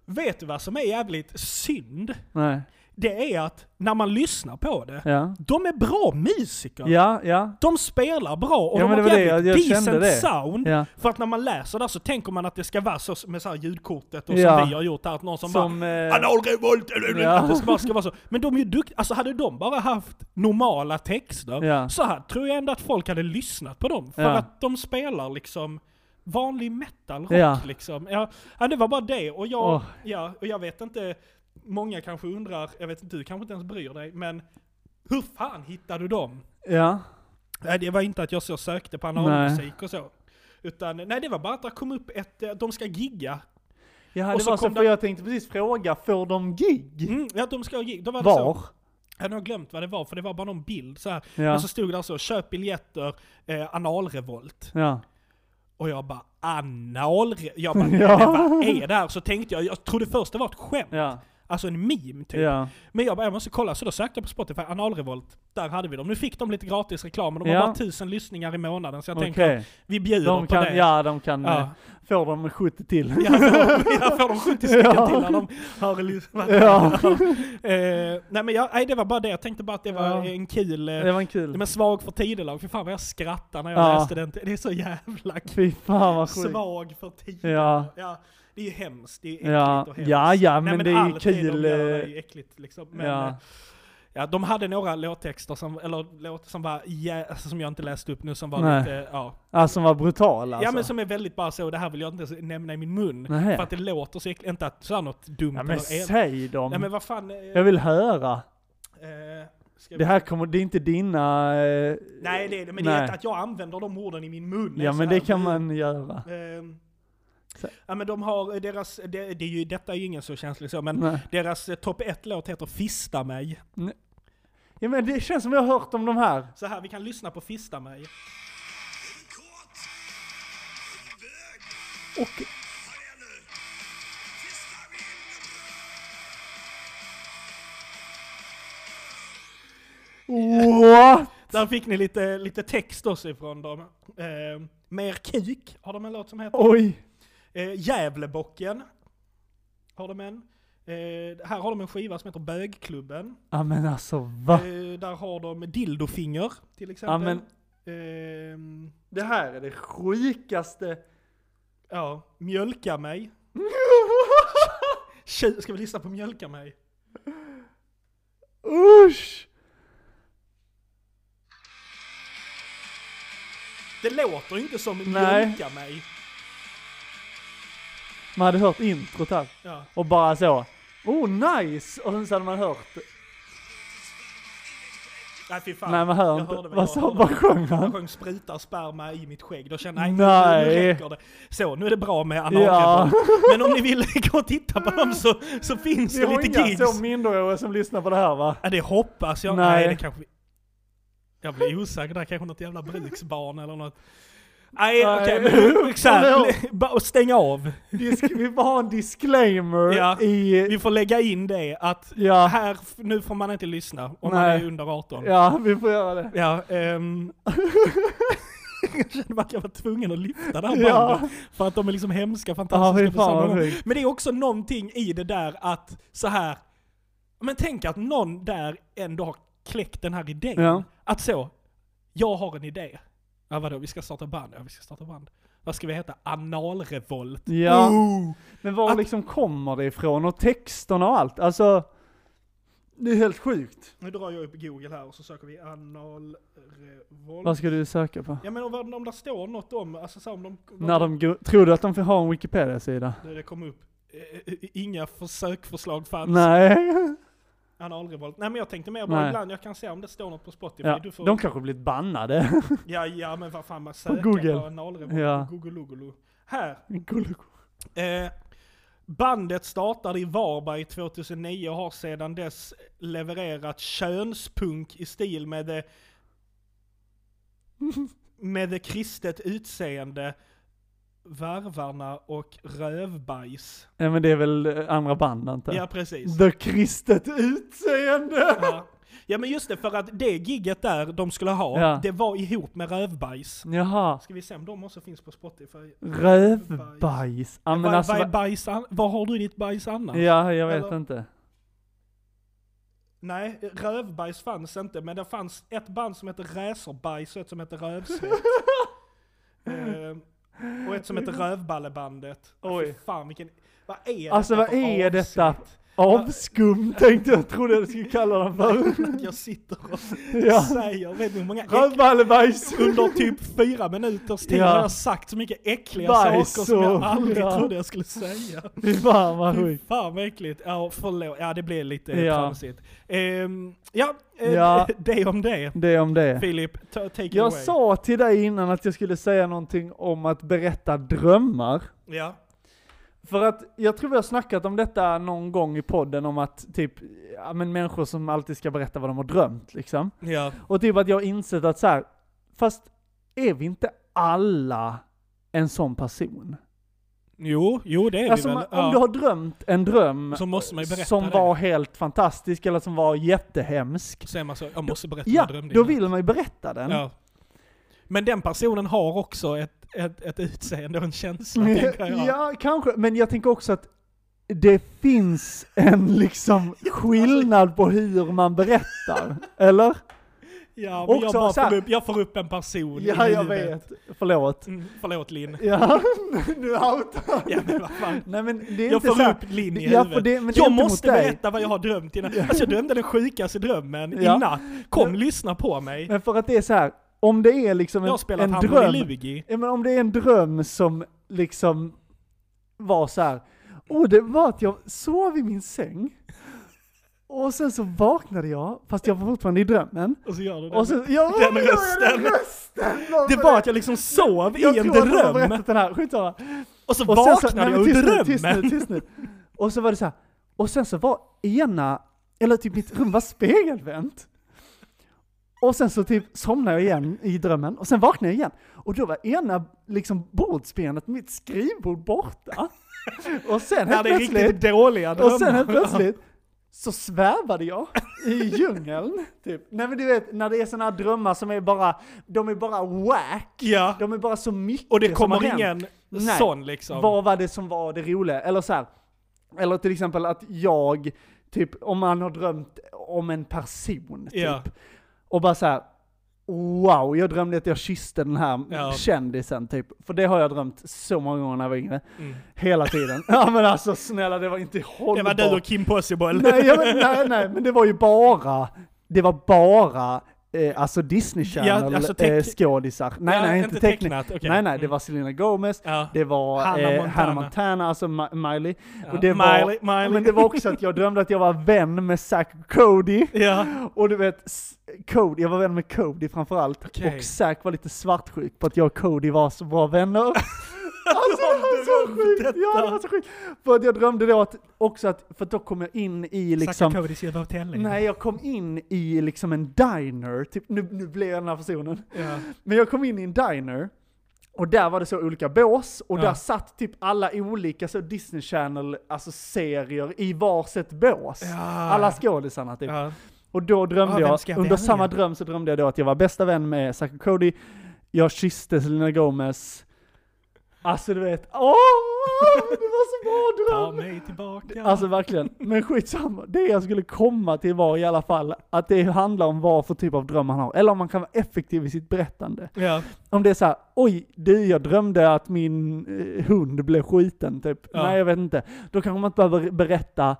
Vet du vad som är jävligt synd? Nej, Det är att när man lyssnar på det, ja. de är bra musiker. Ja, ja, De spelar bra och Ja, de men har det var det, jävligt jag- jag kände decent det. sound. ja. För att när man läser där så tänker man att det ska vara så med så här ljudkortet och Ja. som vi har gjort här, att någon som, Som, bara eh, Analrevolt! Ja. Att det ska bara ska vara så. Men de är ju duktiga, alltså hade de bara haft normala texter ja. så här tror jag ändå att folk hade lyssnat på dem. För Ja. att de spelar liksom vanlig metalrock Ja. liksom. Ja, ja, det var bara det. Och jag, Åh. ja, och jag vet inte, många kanske undrar, jag vet inte, du kanske inte ens bryr dig, men hur fan hittade du dem? ja. Nej, det var inte att jag så sökte på analmusik och så. Utan, nej det var bara att det kom upp ett, eh, de ska gigga. Ja, Och det så var så, kom för det- jag tänkte precis fråga, får de gig? Mm, ja, de ska gigga. Då var det Var? så. Jag har glömt vad det var, för det var bara någon bild så här. Ja, Men så stod det så, köp biljetter, eh, analrevolt. ja. Och jag bara anal... Jag bara, Ja. "Men vad är det här? Så tänkte jag, jag trodde först det var ett skämt. Ja, Alltså en meme typ. ja. Men jag bara, jag måste kolla. Så då sökte jag på Spotify, analrevolt. Där hade vi dem. Nu fick de lite gratis reklam, men de Ja. har bara tusen lyssningar i månaden. Så jag Okej. tänker, vi bjuder De på det. kan, ja de kan, eh, Ja. får de 70 till. Jag får, jag får de 70 stycken Ja. till när de har lyssnat. Ja. Eh, nej men jag, nej, det var bara det, jag tänkte bara att det var Ja. en kul... eh, Det var en kul. Men svag för tidelag, för fan vad jag skrattar när jag Ja. läste den. Det är så jävla kul. Fy fan vad sjukt. Svag för tiden. Ja. det är ju hemskt. Det är äckligt Ja, och hemskt. ja, ja, Nej, men, det är ju allt kul. de gör är eh, ju äckligt liksom. Men, ja. eh, ja, de hade några låttexter som, eller låt som var, jä- alltså, som jag inte läste upp nu, som var Nej. lite, ja. Alltså som var brutal alltså. Ja men som är väldigt bara så, det här vill jag inte ens nämna i min mun. Nej. För att det låter så äckligt, inte att sådär något dumt ja, men eller el- säg dem. Nej men vad fan. eh, Jag vill höra. eh, ska Det här kommer, det är inte dina... eh, Nej det är det, men det nej. är inte att jag använder de orden i min mun. Ja så men här. det kan man göra. Ehm, Så- Ja men de har eh, deras, det, det är ju, detta är ju ingen så känslig så, men Nej. deras eh, topp 1-låt heter Fista mig. Ja men det känns som jag har hört om de här. Så här, vi kan lyssna på Fista mig. Och... What? Där fick ni lite, lite text också ifrån dem. Eh, Mer kuk har de en låt som heter. Oj. Eh, Gävlebocken har de en. Eh, här har de en skiva som heter Bögklubben. Ja men alltså va? Eh, där har de Dildofinger till exempel. Ja men Ehm, det här är det sjukaste. ja, Mjölka mig. Tju- Ska vi lyssna på Mjölka mig? Usch! Det låter ju inte som Nej. Mjölka mig. Man hade hört introt här Ja. och bara så. Oh nice! Och sen så hade man hört. Nej fy fan. Nej man hör Jag inte. hörde Vad, jag sa, hörde. vad sjöng Han han? sjöng sprutar sperma i mitt skägg. Då kände jag, nej, Nej. nu räcker det. Så, nu är det bra med Ja. analkrämpor. Men om ni vill gå och titta på dem så, så finns Vi det har lite gigs. inga så minderåriga som lyssnar på det här va? Ja, det hoppas jag. Nej. Nej, det kanske... vi- Jag blir osäker där, kanske något jävla bruksbarn eller något. Nej, Nej. okej, men Eller exakt. Bara Stäng av. Disk- vi får ha en disclaimer Ja. i... Vi får lägga in det att Ja. här, nu får man inte lyssna om man Nej. är under 18. Ja, vi får göra det. Ja, ehm... jag kände bara att jag var tvungen att lyfta det här bandet. Ja. För att de är liksom hemska, Ja, fy fantastiska på fan, samma vad gång. sjukt. Men det är också någonting i det där att så här men tänk att någon där ändå har kläckt den här idén. Ja. Att så, jag har en idé. Ja vadå, vi ska starta band? Ja vi ska starta band. Vad ska vi heta? Analrevolt? Ja. Ooh. Men var Oh. Att- liksom kommer det ifrån? Och texterna och allt. Alltså, det är helt sjukt. Nu drar jag upp google här och så söker vi analrevolt. Vad ska du söka på? Ja men om, om det står något om, alltså så här, om de... om När de, go- tror du att de får ha en Wikipedia-sida? När det kom upp. eh, eh, Inga försökförslag fanns. Nej. Analrevolt. Nej men jag tänkte mer bara Nej. ibland, jag kan se om det står något på Spotify. Ja, Du får, de kanske blivit bannade. ja, ja men vad fan man söker Google. på analrevolt. Ja. Ja. Google Här. Gullig. Eh, bandet startade i Varberg 2009 och har sedan dess levererat könspunk i stil med det med det kristet utseende, värvarna och rövbajs. ja men det är väl eh, andra band antar Ja jag. precis. The kristet utseende! Ja. ja men just det, för att det gigget där de skulle ha, Ja. det var ihop med rövbajs. Jaha. Ska vi se om de också finns på Spotify? Rövbajs. Ja, men vad, alltså, vad är va- bajs an- Vad har du i ditt bajs annars? ja, jag vet Eller- inte. Nej, rövbajs fanns inte, men det fanns ett band som hette Räserbajs och ett som hette Rövsvett. eh, och ett som hette Rövballebandet. Oj. Oj. Fy fan vilken... Vad är detta Alltså, vad för är detta? avsnitt? Avskum tänkte jag, trodde jag skulle kalla dem för. Jag sitter och Ja. säger, vet ni hur många Rövballebajs! under typ fyra minuters tid Ja. har jag sagt så mycket äckliga Bajs saker som jag och- aldrig ja. trodde jag skulle säga. Fy fan vad Fy sjukt. fan vad äckligt. Ja, förlåt. Ja, det blev lite Ja. ja. tramsigt. Ehm, ja, eh, Ja. det om det. Det om det. Filip, ta- take it Jag away. sa till dig innan att jag skulle säga någonting om att berätta drömmar. Ja. För att jag tror vi har snackat om detta någon gång i podden om att typ, ja men människor som alltid ska berätta vad de har drömt liksom. Ja. Och typ att jag har insett att så här, fast är vi inte alla en sån person? Jo, jo det är Alltså vi man, väl. om ja. du har drömt en dröm Så måste man ju berätta som det. var helt fantastisk eller som var jättehemsk. Så är man så, jag måste berätta Ja, vad jag drömde då innan. vill man ju berätta den. Ja. Men den personen har också ett, ett, ett utseende och en känsla, tänker jag. Ja, kanske. Men jag tänker också att det finns en liksom skillnad på hur man berättar. Eller? Ja, men Också jag, bara så här- får upp, jag får upp en person i Ja, jag huvudet. vet. Förlåt. Mm, förlåt Linn. Ja, nu outar Ja, men vad fan. Nej men det är Jag inte så får här- upp Linn i Ja, för huvudet. det- men det är jag inte mot måste dig. berätta vad jag har drömt innan. Alltså jag drömde den sjukaste drömmen Ja. i natt. Kom lyssna på mig. Men för att det är så här, om det är liksom Jag en, har spelat en Hammarby dröm. Lugi. Ja, men om det är en dröm som liksom var så här. Åh, det var att jag sov i min säng. Och sen så vaknade jag, fast jag var fortfarande i drömmen. Och så gör du det. Och sen, ja, den ja, rösten. Den rösten var det var att jag liksom sov i en tror att jag har dröm. berättat den här, skitsamma. Och så Och sen så, nej, vaknade men jag tyst ur nu, tyst nu, drömmen. tyst nu. Och så var det så här, och sen så var ena, eller typ mitt rum var spegelvänt. Och sen så typ somnade jag igen i drömmen, och sen vaknade jag igen. Och då var ena liksom bordsbenet, mitt skrivbord borta. Och sen Ja, helt det är plötsligt, riktigt dåliga drömmar. och sen helt plötsligt, så svävade jag i djungeln. Typ. Nej men du vet, när det är sådana här drömmar som är bara, de är bara whack. Ja. De är bara så mycket Och det som har kommer hänt. ingen Nej. sån liksom. Vad var det som var det roliga? Eller så här, eller till exempel att jag, typ om man har drömt om en person, typ. Ja. Och bara så här, wow, jag drömde att jag kysste den här Ja. kändisen typ. För det har jag drömt så många gånger när jag var yngre. Mm. Hela tiden. ja men alltså snälla, det var inte Det hållbart. var du och Kim Possible. nej, jag, nej, nej, men det var ju bara, det var bara eh, alltså Disney Channel alltså teck- eh, skådisar. Nej, Ja, nej, inte tecknat. okej. Nej, nej, det Mm. var Selena Gomez, Ja. det var Hannah eh, Montana. Hannah Montana, alltså Ma- Miley. Ja. Och det Miley, var, Miley. Men det var också att jag drömde att jag var vän med Zack Cody. Ja. Och du vet, S- Cody, jag var vän med Cody framförallt. Okej. Och Zack var lite svartsjuk på att jag och Cody var så bra vänner. Alltså det var så sjukt! Ja, det var så sjukt! För att jag drömde då att, också att, för att då kom jag in i liksom... Snacka Cody Silva Hotel. Nej, jag kom in i liksom en diner, typ, nu, nu blev jag den här personen. Ja. Men jag kom in i en diner, och där var det så olika bås, och Ja. där satt typ alla olika så Disney Channel, alltså serier i varsitt bås. Ja. Alla skådisarna typ. Ja. Och då drömde Ah, vem ska jag, jag under välja? samma dröm så drömde jag då att jag var bästa vän med Zack och Cody, jag kysste Selena Gomez, alltså du vet, åh! Det var så bra Ta dröm! mig tillbaka. Alltså verkligen, men skitsamma. Det jag skulle komma till var i alla fall att det handlar om vad för typ av dröm man har, eller om man kan vara effektiv i sitt berättande. ja. Om det är så här, oj, du jag drömde att min eh, hund blev skjuten typ. Ja. Nej jag vet inte. Då kanske man inte behöver berätta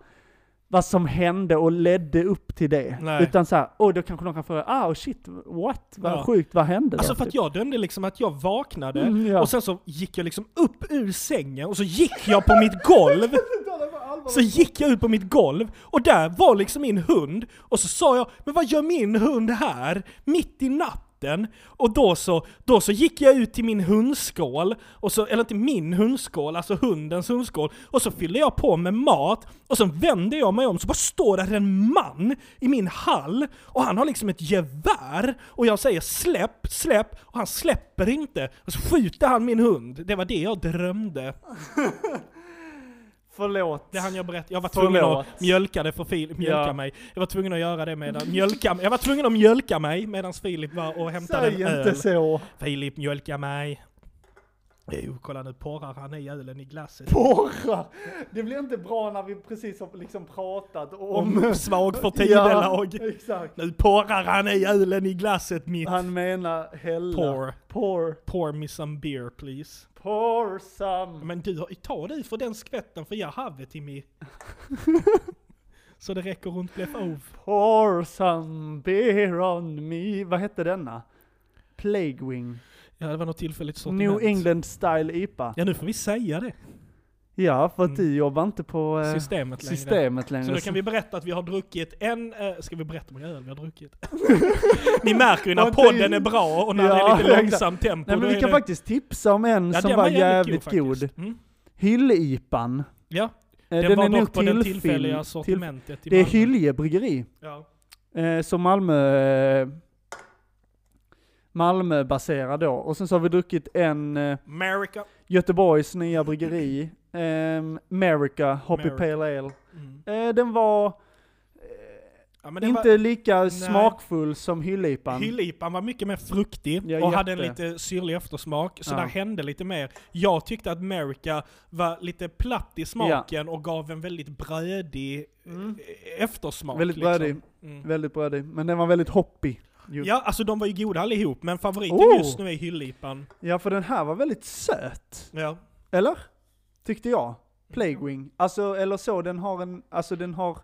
vad som hände och ledde upp till det. Nej. Utan så här, oj då kanske någon kan fråga, ah oh, shit, what, vad Ja. sjukt, vad hände Alltså då? Typ. för att jag dömde liksom att jag vaknade Mm, ja. och sen så gick jag liksom upp ur sängen och så gick jag på mitt golv. Så gick jag ut på mitt golv och där var liksom min hund och så sa jag men vad gör min hund här? Mitt i natten? Och då så, då så gick jag ut till min hundskål, och så, eller till min hundskål, alltså hundens hundskål, och så fyllde jag på med mat och sen vände jag mig om så bara står där en man i min hall och han har liksom ett gevär och jag säger släpp, släpp och han släpper inte och så skjuter han min hund. Det var det jag drömde. Förlåt. Det hann jag berätta. Jag var Förlåt. tvungen att mjölka det för Filip, mjölka Ja. mig. Jag var tvungen att göra det medan, mjölka, jag var tvungen att mjölka mig medan Filip var och hämtade Säg en öl. inte så. Filip, mjölka mig. Jo, kolla nu porrar han i ölen i glasset. Porra! Det blir inte bra när vi precis har liksom pratat om... Om svag för tidelag. exakt. Nu porrar han i ölen i glasset mitt. Han menar hälla. Pour. Pour. Pour me some beer please. Pour some. Men du, har- ta dig för den skvätten för jag have it i mig. Så det räcker runt blev av. Pour some beer on me. Vad hette denna? Plague Wing. Ja, det var något tillfälligt sortiment. New England Style IPA. Ja, nu får vi säga det. Ja, för att Mm. du jobbar inte på eh, Systemet längre. systemet längre. Så nu kan vi berätta att vi har druckit en, eh, ska vi berätta hur många öl vi har druckit? Ni märker ju när Var inte podden i- är bra och när Ja, det är lite exakt. långsamt tempo. Nej men då vi är kan det- faktiskt tipsa om en Ja, som den var jävligt god. faktiskt. Mm. Hyll-IPan. Eh, Ja, Den, den, var är dock nog på det tillfin- tillfälliga till- sortimentet i Det är Malmö. Hylje bryggeri. Ja. Eh, som Malmö... Eh, Malmöbaserad då. Och sen så har vi druckit en eh, America. Göteborgs nya bryggeri. Eh, America Hoppy America. Pale Ale. Mm. Eh, den var Ja, men inte inte var, lika smakfull som hyllipan. Hyllipan var mycket mer fruktig Ja, och hade en jätte. lite syrlig eftersmak, så Ja. där hände lite mer. Jag tyckte att America var lite platt i smaken och gav en väldigt brödig Mm. eh, eftersmak. Väldigt liksom. brödig. Mm. Väldigt brödig. Men den var väldigt hoppig. ju. Ja, alltså de var ju goda allihop, men favoriten Oh! just nu är hyllipan. ja, för den här var väldigt söt. Ja. Eller? Tyckte jag. Plague Wing. Alltså, eller så, den har en, alltså den har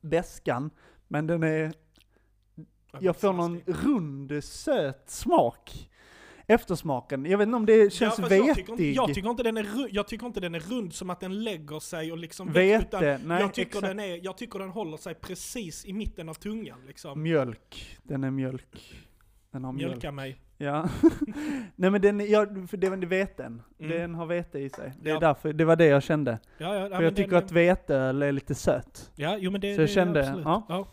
beskan men den är, jag får någon rund söt smak. Eftersmaken. Jag vet inte om det känns fast Jag tycker, inte, vetig. jag, tycker inte den är, ru- jag tycker inte den är rund som att den lägger sig och liksom väcks, utan Vete. Nej, jag, tycker exakt. den är, jag tycker den håller sig precis i mitten av tungan liksom. Mjölk. Den är mjölk. Den har Mm, mjölk. Mjölka mig. Ja. Nej men den, ja, för det var inte veten. Mm. Den har vete i sig. Det är Ja. därför, det var det jag kände. Ja, ja, ja, för men jag tycker den, att veteöl är lite sött. Ja, jo men det så jag det är kände, absolut. ja.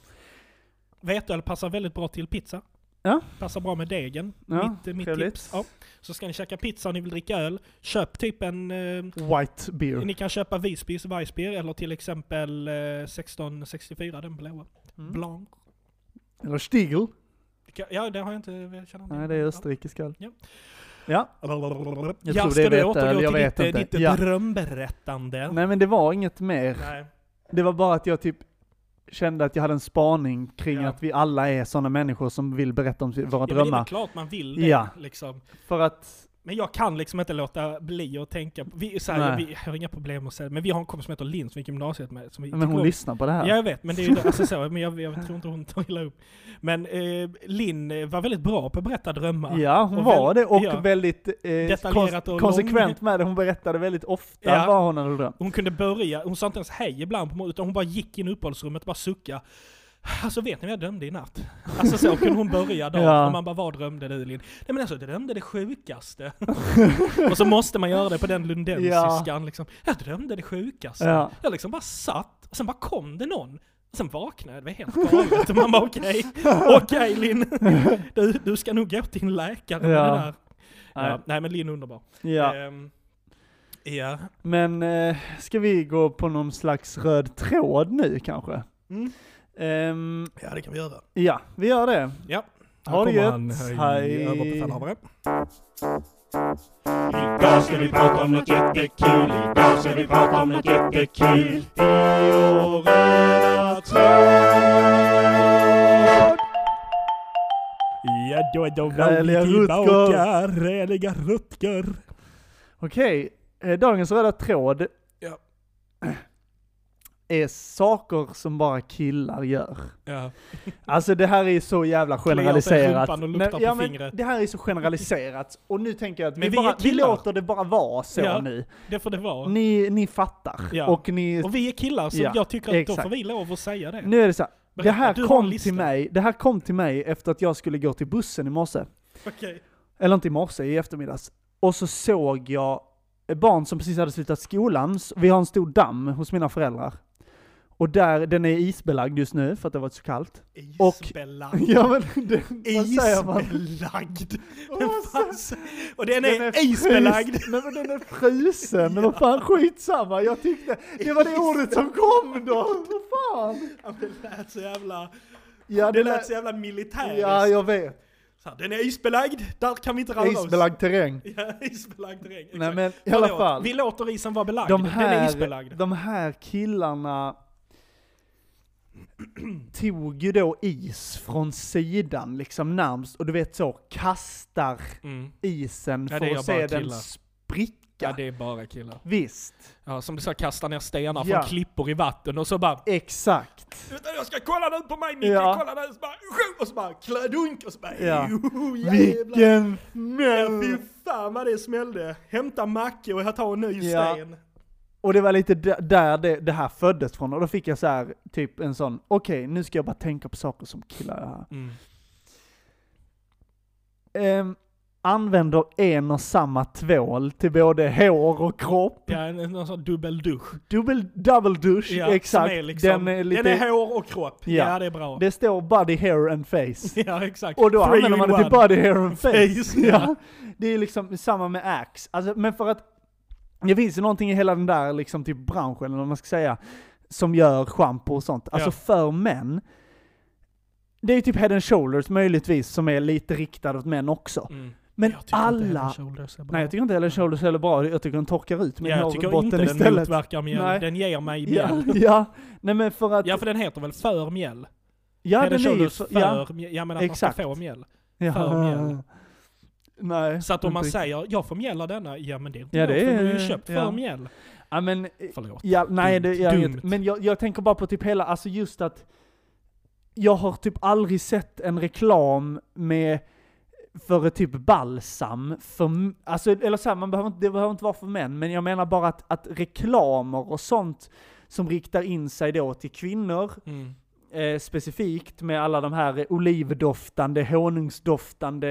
Veteöl passar väldigt bra till pizza. Ja. Passar bra med degen. Ja, mitt eh, mitt trevligt. tips. Ja. Så ska ni käka pizza och ni vill dricka öl, köp typ en eh, White beer. Ni kan köpa Visbys Weissbier eller till exempel eh, 1664, den blåa. Mm. Blanc. Eller Stigl. Det kan- Ja, det har jag inte, jag känner inte Nej det är österrikisk öl. Ja. Ja. Ja, Jag ja tror ska det är du vete, återgå eller jag till vet ditt, eh, inte. ditt Ja. drömberättande? Nej men det var inget mer. Nej. Det var bara att jag typ kände att jag hade en spaning kring Ja. att vi alla är sådana människor som vill berätta om si- våra Ja, men det är drömmar. väl klart man vill det. Ja. Liksom. För att Men jag kan liksom inte låta bli att tänka på, vi, så här, Nej. vi jag har inga problem med att säga det, men vi har en kompis som heter Linn som vi gick i gymnasiet med. Som vi Men tycker hon om. lyssnar på det här. Ja jag vet, men det är ju det, alltså så, men jag, jag tror inte hon tar illa upp. Men eh, Linn eh, var väldigt bra på att berätta drömmar. Ja, hon Och var väl- det och ja. väldigt eh, Detaljerat kons- och konsekvent med det. Hon berättade väldigt ofta Ja. vad hon hade drömt. Hon kunde börja, hon sa inte ens hej ibland på morgonen, utan hon bara gick in i uppehållsrummet och bara sucka. Alltså vet ni vad jag drömde i natt? Alltså så kunde hon börja dagen, Ja. och man bara vad drömde du Linn? Nej men alltså jag drömde det sjukaste. och så måste man göra det på den lundensiskan liksom. Jag drömde det sjukaste. Ja. Jag liksom bara satt, och sen bara kom det någon. Och sen vaknade jag, det var helt galet. Och man bara okej, okej Linn. Du, du ska nog gå till din läkare med Ja. det där. Nej. Ja. Nej men Linn är underbar. Ja. Ehm, ja. Men eh, ska vi gå på någon slags röd tråd nu kanske? Mm. Ehm, ja det kan vi göra. ja, vi gör det. Ja. Ha det gött. Hej. Idag ska vi prata om något jättekul. Idag ska vi prata om något jättekul. Tio röda tråd. Ja då är då Räliga Rutger. Räliga Rutger. Okej, eh, dagens röda tråd Ja. är saker som bara killar gör. Ja. Alltså det här är så jävla sig i generaliserat. rumpan och luktar Nej, på ja, men fingret. det här är så generaliserat, och nu tänker jag att vi, Men vi är bara, vi killar. låter det bara vara så Ja. nu. Det får det vara. Ni, ni fattar. Ja. Och ni... Och vi är killar så Ja, jag tycker att då exakt. får vi lov att säga det. nu är det så här. Berätta, det här du har en kom lista. till mig, det här kom till mig efter att jag skulle gå till bussen i morse. Okej. Eller inte i morse, i eftermiddags. Och så såg jag barn som precis hade slutat skolan. S- Vi har en stor damm hos mina föräldrar. Och där, den är isbelagd just nu för att det har varit så kallt. Och- Isbelagd. Ja men, det, vad säger man? Isbelagd. Vad Vad fan säger- Och den Den är frys- isbelagd. Nej men den är frusen, vad fan skitsamma. Jag tyckte, det var det ordet som kom då! Vad fan! Ja, men Det lät så jävla, Ja, det den lät är, så jävla militäriskt. ja jag vet. Så här, Den är isbelagd, där kan vi inte röra oss. Isbelagd terräng. Ja, isbelagd regn. Nej Exakt. men i Förlåt, alla fall. Vi låter isen vara belagd. De Den är isbelagd. här, de här killarna tog ju då is från sidan liksom närmst och du vet så kastar Mm. isen Ja, för det gör att bara se den killar. spricka. Ja, det är bara killar. Visst, Ja, som du sa, kasta ner stenar Ja. från klippor i vatten och så bara exakt. Utan jag ska kolla nu på mig Micke, Ja. kolla nu! Så bara, sju, och så bara klödunk och så bara Ja. joho, jävlar. Vilken Ja, Fy smäll! fan vad det smällde! Hämta Macke och jag tar en ny Ja. sten. Och det var lite d- där det, det här föddes från, och då fick jag så här, typ en sån, okej nu ska jag bara tänka på saker som killar gör här. Mm. Ehm, använder en och samma tvål till både hår och kropp. Ja, en, en, någon sån dubbeldusch. Dubbel, double douche, Ja, exakt. som Är liksom, den är lite, hår och kropp. Ja, Ja. det är bra. det står body, hair and face. ja, exakt. Och då Three använder in man det till one. body, hair and face. Face, ja. ja. Det är liksom samma med axe. Alltså, men för att det finns ju någonting i hela den där liksom typ branschen, eller vad man ska säga, som gör schampo och sånt. Alltså Ja. för män, det är ju typ head and shoulders möjligtvis som är lite riktad åt män också. Mm. Men Jag tycker inte Head alla... and Shoulders är bra. Nej jag tycker inte head and shoulders är bra, jag tycker den torkar ut min ja, jag tycker inte hårbotten den istället. motverkar mjäll. Nej. Den ger mig Ja, mjäll. ja, nej men för att... Ja för den heter väl för mjäll? ja Head den and är ju... Shoulders så- för Ja, mjäll. Ja men att Exakt. man ska få mjäll. för ja. mjäll. Nej. Så att om man inte- säger jag får mjäll av denna, ja men det är inte Ja, ja, det det, för du har är- ju köpt ja. för mjäll. Ja men... eh, Förlåt. Ja, nej Dumt, det gör dumt. inget. Men jag, jag tänker bara på typ hela, alltså just att jag har typ aldrig sett en reklam med för ett typ balsam, för, m- alltså, eller så här, man behöver inte, det behöver inte vara för män, men jag menar bara att, att reklamer och sånt som riktar in sig då till kvinnor, Mm. eh, specifikt med alla de här eh, olivdoftande, honungsdoftande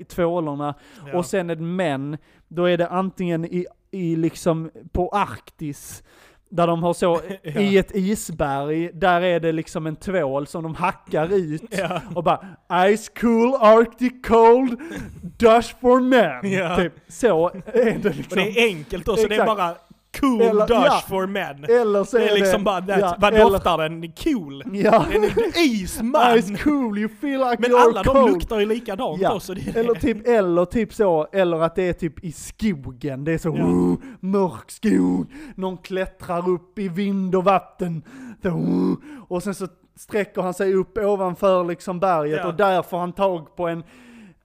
eh, tvålorna, Ja. och sen ett men, då är det antingen i, i liksom på Arktis, där de har så, Ja. i ett isberg, där är det liksom en tvål som de hackar ut Ja. och bara Ice cool, Arctic cold, Dush for men. Ja. Typ. Så är det Och liksom. det är enkelt också, det är Exakt. bara cool Eller- Eller, dush ja. for men. eller så Det är liksom bara that, vad eller- doftar den? Cool. Ja. Den är is man. Ice cool, you feel like Men you're alla cold. de luktar ju likadant Ja. också. Det är Eller typ, eller typ så, eller att det är typ i skogen, det är så Ja. "Oh, mörk skog, någon klättrar upp i vind och vatten, så, "Oh", och sen så sträcker han sig upp ovanför liksom berget Ja. och där får han tag på en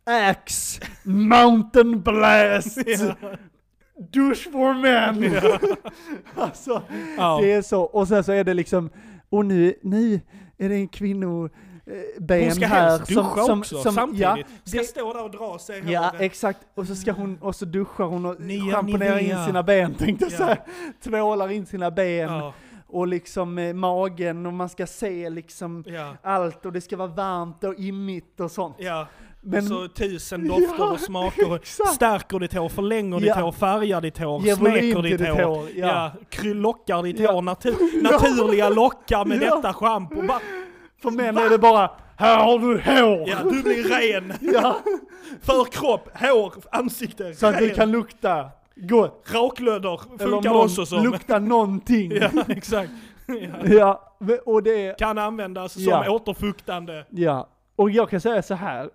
Axe, Mountain Blast, Ja. Douche for Men. alltså, Ja. det är så. Och sen så är det liksom, och nu, nu är det en kvinno... eh, Ben Hon ska här helst duscha också samtidigt. Ja, ska det- stå där och dra sig i Ja, håret. exakt. Och så ska hon, och så duschar hon och Nya schamponerar in Nivea. sina ben tänkte jag Ja. säga. Tvålar in sina ben Ja, och liksom eh, magen och man ska se liksom ja. allt och det ska vara varmt och immigt och sånt. Ja, Men- men, så tusen dofter Ja, och smaker. exakt. Stärker ditt hår, förlänger Ja. ditt hår, färgar ditt hår, Ger volym smeker till ditt, ditt hår. hår, ja. kry- lockar ditt Ja. hår, natur, naturliga lockar med Ja. detta schampo. Bara, För män är det bara, här har du hår! ja, du blir ren. Ja, För kropp, hår, ansikte, så att du ren. kan lukta gott. Raklödder funkar det någon- också som. Lukta någonting. Ja, exakt. Ja. ja, och det, Kan användas som Ja. återfuktande. Ja, och jag kan säga så här.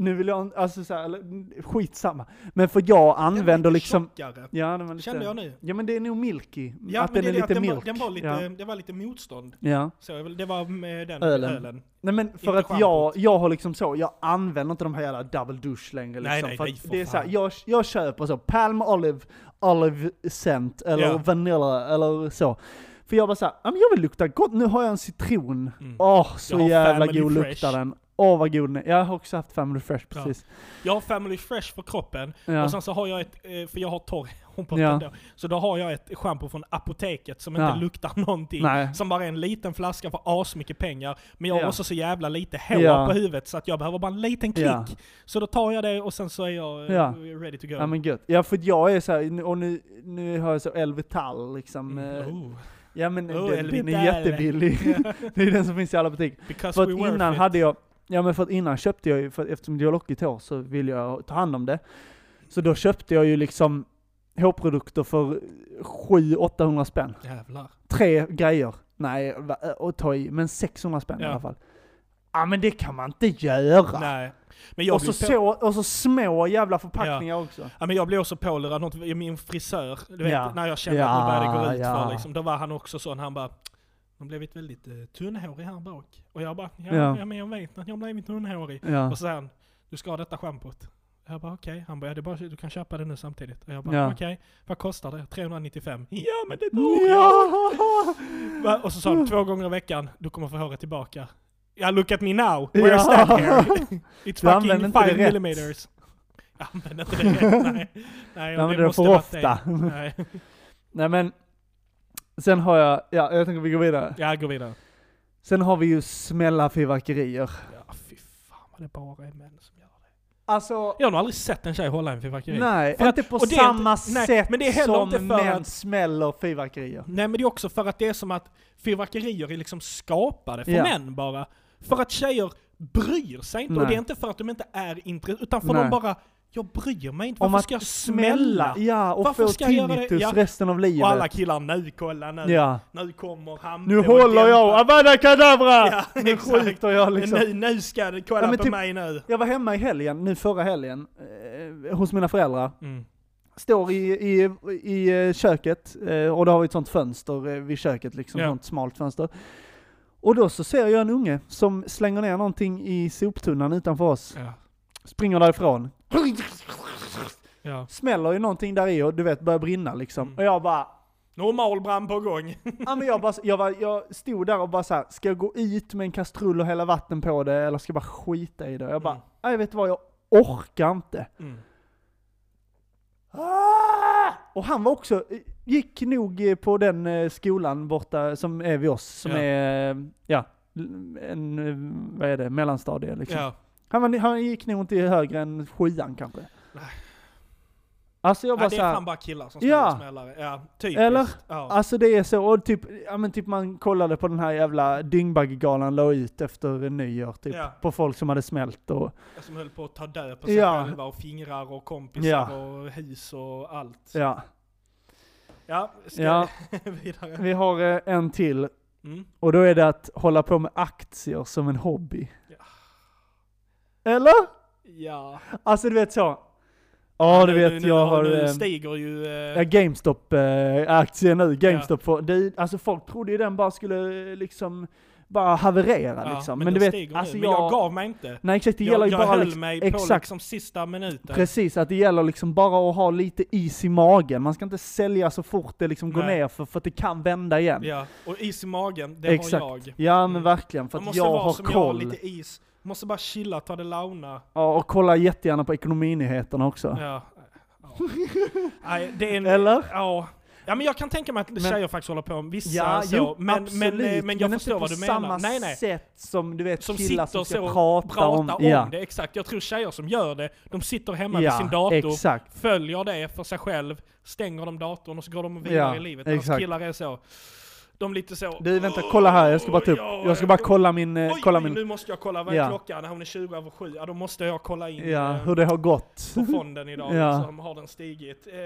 Nu vill jag inte- alltså så här, eller, skitsamma. Men för jag använder lite liksom... Tjockare. Ja, den var lite, Kände jag nu. Ja men det är nog milky. Ja, att den men det är är det att lite den, var, milk. den var lite, ja. det var lite motstånd. ja. Så jag vill- det var med den Ölen. ölen. Nej men för Inte att jag, jag har liksom så, jag använder inte de här jävla double douche längre Nej, liksom. nej, för nej, att för det är så här, fan. jag, jag köper så, palm olive, olive scent eller Ja. vanilla eller så. För jag bara såhär, jag vill lukta gott, nu har jag en citron. Åh, så Mm. Jag har jävla Family god Fresh. luktar den. Åh vad god den är. Jag har också haft family fresh Ja. precis. Jag har Family Fresh för kroppen, Ja. och sen så har jag ett, eh, för jag har torr hårbotten Ja. då, så då har jag ett schampo från apoteket som Ja. inte luktar någonting. Nej. Som bara är en liten flaska för asmycket pengar, men jag har Ja. också så jävla lite hår Ja. på huvudet så att jag behöver bara en liten klick. Ja. Så då tar jag det och sen så är jag eh, Ja. ready to go. Ja men gött. Ja för jag är såhär, och nu, nu har jag så Elvital liksom. eh, Mm. Oh. Ja men den, Oh, den är Elvital. jättebillig. det är den som finns i alla butiker. Because För att we worth innan it. hade jag, ja men för att innan köpte jag ju, för att eftersom det var lockigt hår så ville jag ta hand om det. Så då köpte jag ju liksom hårprodukter för 700-800 spänn. Jävlar. Tre grejer. Nej, va- eh, och ta i, men 600 spänn i Ja. alla fall. Ja men det kan man inte göra! Nej. Men jag och, så blir på- så, och så små jävla förpackningar också. Ja, men jag blev också pålurad, något, min frisör, du vet, Ja. när jag kände Ja, att nu började det gå ut ja. för, liksom, då var han också sån, han bara man blev ett väldigt eh, tunnhårig här bak. Och jag bara, ja, Ja. ja. men jag vet att jag blev tunnhårig. Ja. Och så sa han, du ska ha detta schampot. Jag bara okej, han bara, ja, det är bara, du kan köpa det nu samtidigt. Och jag bara Ja. okej, vad kostar det? 395? Ja men det tar Ja! Va? Och så sa han, två gånger i veckan, du kommer få håret tillbaka. Ja look at me now, Ja. where's that hair? It's Du använder fucking inte det 5 rätt. millimeters. Jag använder inte det rätt, nej. Nej, Jag och använder det måste för varit ofta. det. Nej. Nej men, sen har jag, ja jag tänker vi går vidare. Jag går vidare. Sen har vi ju smälla fyrverkerier. Ja fy fan vad det bara är män som gör det. Alltså, Jag har nog aldrig sett en tjej hålla en fyrverkeri. nej, För att- inte på och det är samma inte- nej, sätt men det är heller som inte för män att- smäller fyrverkerier. Nej men det är också för att det är som att fyrverkerier är liksom skapade för Ja. män bara. För att tjejer bryr sig inte. Nej. Och det är inte för att de inte är intresserade, utan för Nej. de bara jag bryr mig inte, Om varför att ska jag smälla? Ja, och Varför få ska jag göra det? tinnitus Ja. resten av livet. Och alla killar, nu kolla nu, Ja. nu kommer han. Nu håller jag, avada kadabra! Ja, nu exakt. skjuter jag liksom. Nu, nu ska du kolla Ja, men på typ- mig nu. Jag var hemma i helgen, nu förra helgen, eh, hos mina föräldrar. Mm. Står i, i, i eh, köket, eh, och då har vi ett sånt fönster eh, vid köket, liksom, Ja. sånt smalt fönster. Och då så ser jag en unge som slänger ner någonting i soptunnan utanför oss, Ja. springer därifrån, Ja. smäller ju någonting där i och du vet, börjar brinna liksom. Mm. Och jag bara, Normal brand på gång. ja men jag bara, jag, var, jag stod där och bara så här, ska jag gå ut med en kastrull och hälla vatten på det eller ska jag bara skita i det? Jag bara, Mm. nej vet du vad, jag orkar inte. Mm. Ah! Och han var också, gick nog eh, på den eh, skolan borta som är vid oss, som Ja. är, eh, ja, en, eh, vad är det, mellanstadie liksom. Ja. Han, var, han gick nog inte högre än sjuan kanske. Alltså jag Ja, bara det så är här, fan bara killar Ja. som ja. smällare. Ja, typiskt. Eller? Ja. Alltså det är så, och typ, ja men typ man kollade på den här jävla dyngbaggegalan la ut efter nyår typ. Ja. På folk som hade smält och, Som höll på att ta död på sig Ja. själva och fingrar och kompisar Ja. och hus och allt. Ja, ja. ska Ja. vidare. Vi har eh, en till, Mm. och då är det att hålla på med aktier som en hobby. Ja. Eller? Ja. Alltså du vet så. Ja du Nu- vet nu, nu, jag har... Nu eh, stiger ju... eh, Ja, GameStop-aktien nu, GameStop, för, det, alltså folk trodde ju den bara skulle eh, liksom bara haverera Ja, liksom. men, Men, den du vet, stiger alltså nu. Men jag jag... gav mig inte. Nej exakt, det gäller Jag, ju jag bara höll liksom, mig på exakt, liksom sista minuten. precis, att det gäller liksom bara att ha lite is i magen. Man ska inte sälja så fort det liksom går Nej. ner för, för att det kan vända igen. Ja, och is i magen, det exakt. har jag. Ja men Mm. verkligen, för Man att måste jag vara har som jag, koll. lite is. Måste bara chilla, ta det launa. Ja, och kolla jättegärna på ekonominyheterna också. Ja. Ja. Nej, det är en, Eller? Ja. ja, men jag kan tänka mig att tjejer faktiskt håller på med vissa Ja, så, jo, men, absolut. men, eh, men jag förstår inte vad på du samma menar. Nej, nej. sätt som du vet Som killar sitter som ska så prata, Prata om, ja. det, exakt. Jag tror tjejer som gör det, de sitter hemma vid ja, sin dator, exakt. följer det för sig själv, stänger de datorn och så går de vidare Ja, i livet. Medan exakt. killar är så, de lite så... Du vänta, kolla här, jag ska bara ta upp. Ja, Jag ska bara ja. kolla min, eh, Oj, kolla oj, min, nu måste jag kolla, vad är Ja. klockan? Hon är 20 över 7, ja då måste jag kolla in ja, eh, hur det har gått. på fonden idag. Ja. Liksom, har den stigit eh,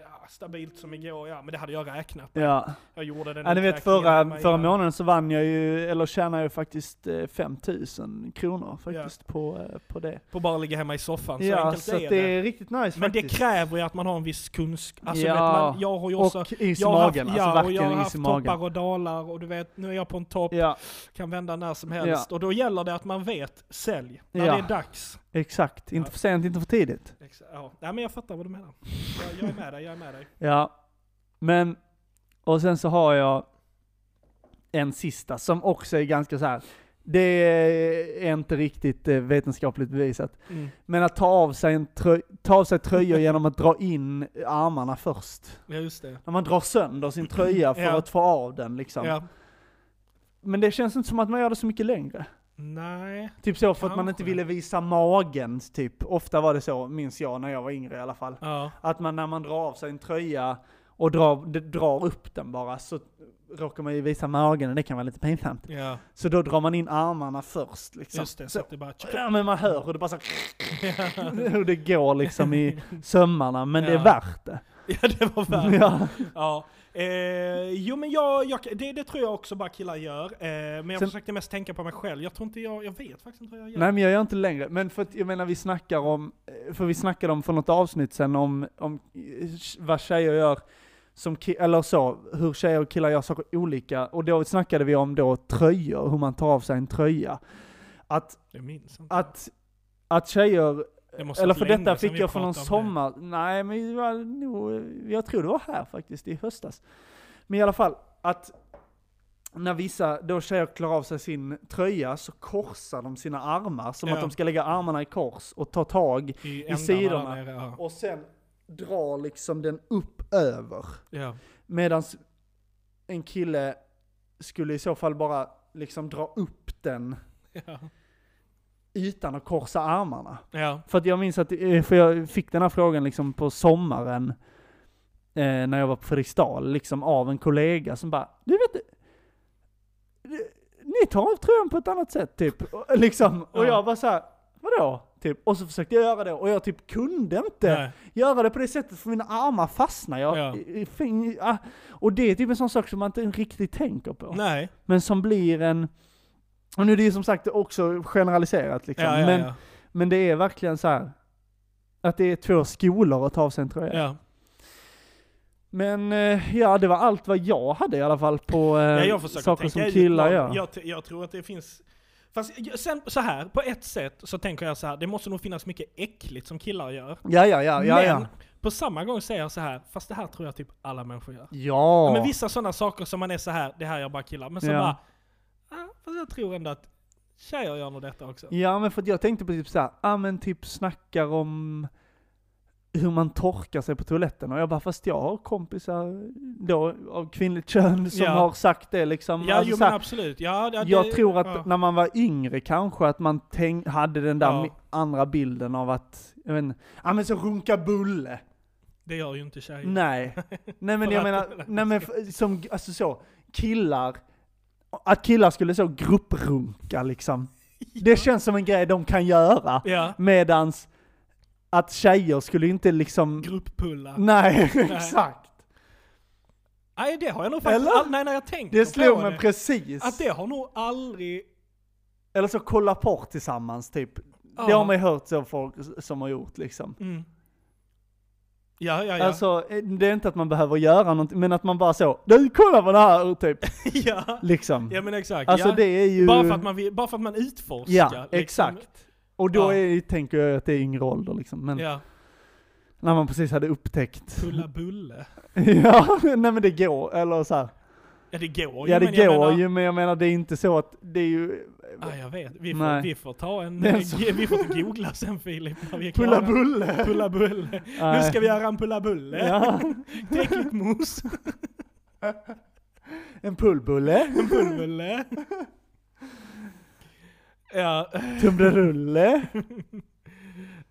ja, stabilt som igår? Ja, men det hade jag räknat med. Ja. Jag gjorde den ja, ni vet uträkningen förra, hemma förra innan. månaden så vann jag ju, eller tjänade jag faktiskt eh, 5000 kronor faktiskt på, eh, på det. På bara ligga hemma i soffan, så ja, enkelt så att är det. det. är riktigt nice Men det faktiskt. kräver ju att man har en viss kunskap. Alltså, Ja. vet man, jag har ju också... Och is i jag har haft- magen, ja, alltså och jag har verkligen haft is i magen. toppar och dalar och du vet, nu är jag på en topp, Ja, kan vända när som helst. Och då gäller det att man vet, sälj, när Ja. det är dags. exakt. Inte Ja. för sent, inte för tidigt. Exa- Ja. Nej men jag fattar vad du menar. Jag, jag är med dig, jag är med dig. Ja, men och sen så har jag en sista som också är ganska så här. Det är inte riktigt eh, vetenskapligt bevisat. Mm. Men att ta av sig, en trö- ta av sig tröjor genom att dra in armarna först. Ja just det. När man drar sönder sin tröja för Ja. att få av den liksom. Ja. Men det känns inte som att man gör det så mycket längre. Nej. Typ så för att man inte Kanske. ville visa magen, typ. Ofta var det så, minns jag, när jag var yngre i alla fall. Ja. Att man när man drar av sig en tröja och drar, d- drar upp den bara så råkar man ju visa magen och det kan vara lite pinsamt. Ja, Så då drar man in armarna först liksom. just det. Så Så. att det bara... Ja men man hör hur det bara så hur det går liksom i sömmarna, men det Ja. är värt det. Ja, det var värt det. Ja. Ja. Eh, jo men jag, jag det, det tror jag också bara killar gör. Eh, men jag Sen- försökte mest tänka på mig själv. Jag tror inte jag, jag vet faktiskt inte vad jag gör. Nej men jag gör inte längre, men för att jag menar vi snackar om, eh, för vi snackade om för något avsnitt sen om, om eh, vad tjejer gör, som ki- eller så, hur tjejer och killar gör saker olika, och då snackade vi om då tröjor, hur man tar av sig en tröja. Att Jag minns inte. att, att tjejer, Det måste eller varit för länge detta sedan fick vi jag från någon pratade om det. sommar, nej men det var nog, jag tror det var här faktiskt, i höstas. Men i alla fall, att när vissa då tjejer klarar av sig sin tröja så korsar de sina armar, som Ja. att de ska lägga armarna i kors och ta tag I, ändarna sidorna. där nere, ja. och sen dra liksom den upp över. Ja. Medan en kille skulle i så fall bara liksom dra upp den Ja. utan att korsa armarna. Ja. För att jag minns att, eh, för jag fick den här frågan liksom på sommaren eh, när jag var på Fredriksdal, liksom av en kollega som bara Du vet, eh, ni tar av tröjan på ett annat sätt typ. Och, Liksom. Och Ja. jag bara såhär, vadå? Typ. Och så försökte jag göra det och jag typ kunde inte Nej. göra det på det sättet för mina armar fastnar. Jag, Ja. i- i fing- ah. Och det är typ en sån sak som man inte riktigt tänker på. Nej. Men som blir en, och nu är det ju som sagt också generaliserat liksom. Ja, ja, men, ja. men det är verkligen så här att det är två skolor att ta av sig en tröja. Ja. Men eh, ja, det var allt vad jag hade i alla fall på eh, Ja, jag försöker saker tänka som ut killar någon. gör. Jag, t- jag tror att det finns... Fast jag- sen så här, på ett sätt så tänker jag så här, det måste nog finnas mycket äckligt som killar gör. Ja, ja, ja, ja, ja. Men på samma gång säger jag så här, fast det här tror jag typ alla människor gör. Ja, Ja, men vissa sådana saker som man är så här, det här gör bara killar. Men så Ja. bara, ah, fast jag tror ändå att tjejer gör nog detta också. ja, men för att jag tänkte på typ så här, ja men typ snackar om hur man torkar sig på toaletten och jag bara fast jag har kompisar då av kvinnligt kön som Ja. har sagt det liksom. Ja, Alltså jo så här, men absolut. Ja, ja, det, jag tror att ja. när man var yngre kanske att man tänk, hade den där Ja. mi- andra bilden av att, jag vet inte, ja men så runka bulle. Det gör ju inte tjejer. Nej. Nej men För jag att- menar, nej men f- som, alltså så, killar, att killar skulle så grupprunka liksom. Det känns som en grej de kan göra. Ja, Medans att tjejer skulle inte liksom, grupppulla. nej exakt. Nej det har jag nog faktiskt Eller? all, Nej när jag tänker Det slog på mig det. precis. Att det har nog aldrig... Eller så kolla porr tillsammans typ. Ja. Det har man ju hört så folk s- som har gjort liksom. Mm. Ja, ja, ja. Alltså, eh, det är inte att man behöver göra någonting, men att man bara så, du kolla på det här, typ, ja. liksom. ja, men exakt. Alltså ja. det är ju... bara, för att man, vill- bara för att man utforskar. Ja, liksom. exakt. Och då Ja. är, tänker jag att det är yngre ålder liksom, men Ja, när man precis hade upptäckt. pulla bulle. ja, nej men det går, eller så här. Ja, det går ju. Ja det men jag går menar- ju, men jag menar det är inte så att, det är ju... Ja, jag vet. Vi Nej. får, vi får ta en... Det är så- Vi får googla sen Filip, när vi är Pulla klara. bulle! Pulla bulle. Nu ska vi göra en pulla bulle. Ja, Teknikmos. en pullbulle, En bullbulle. Ja, Mm. tumlerulle.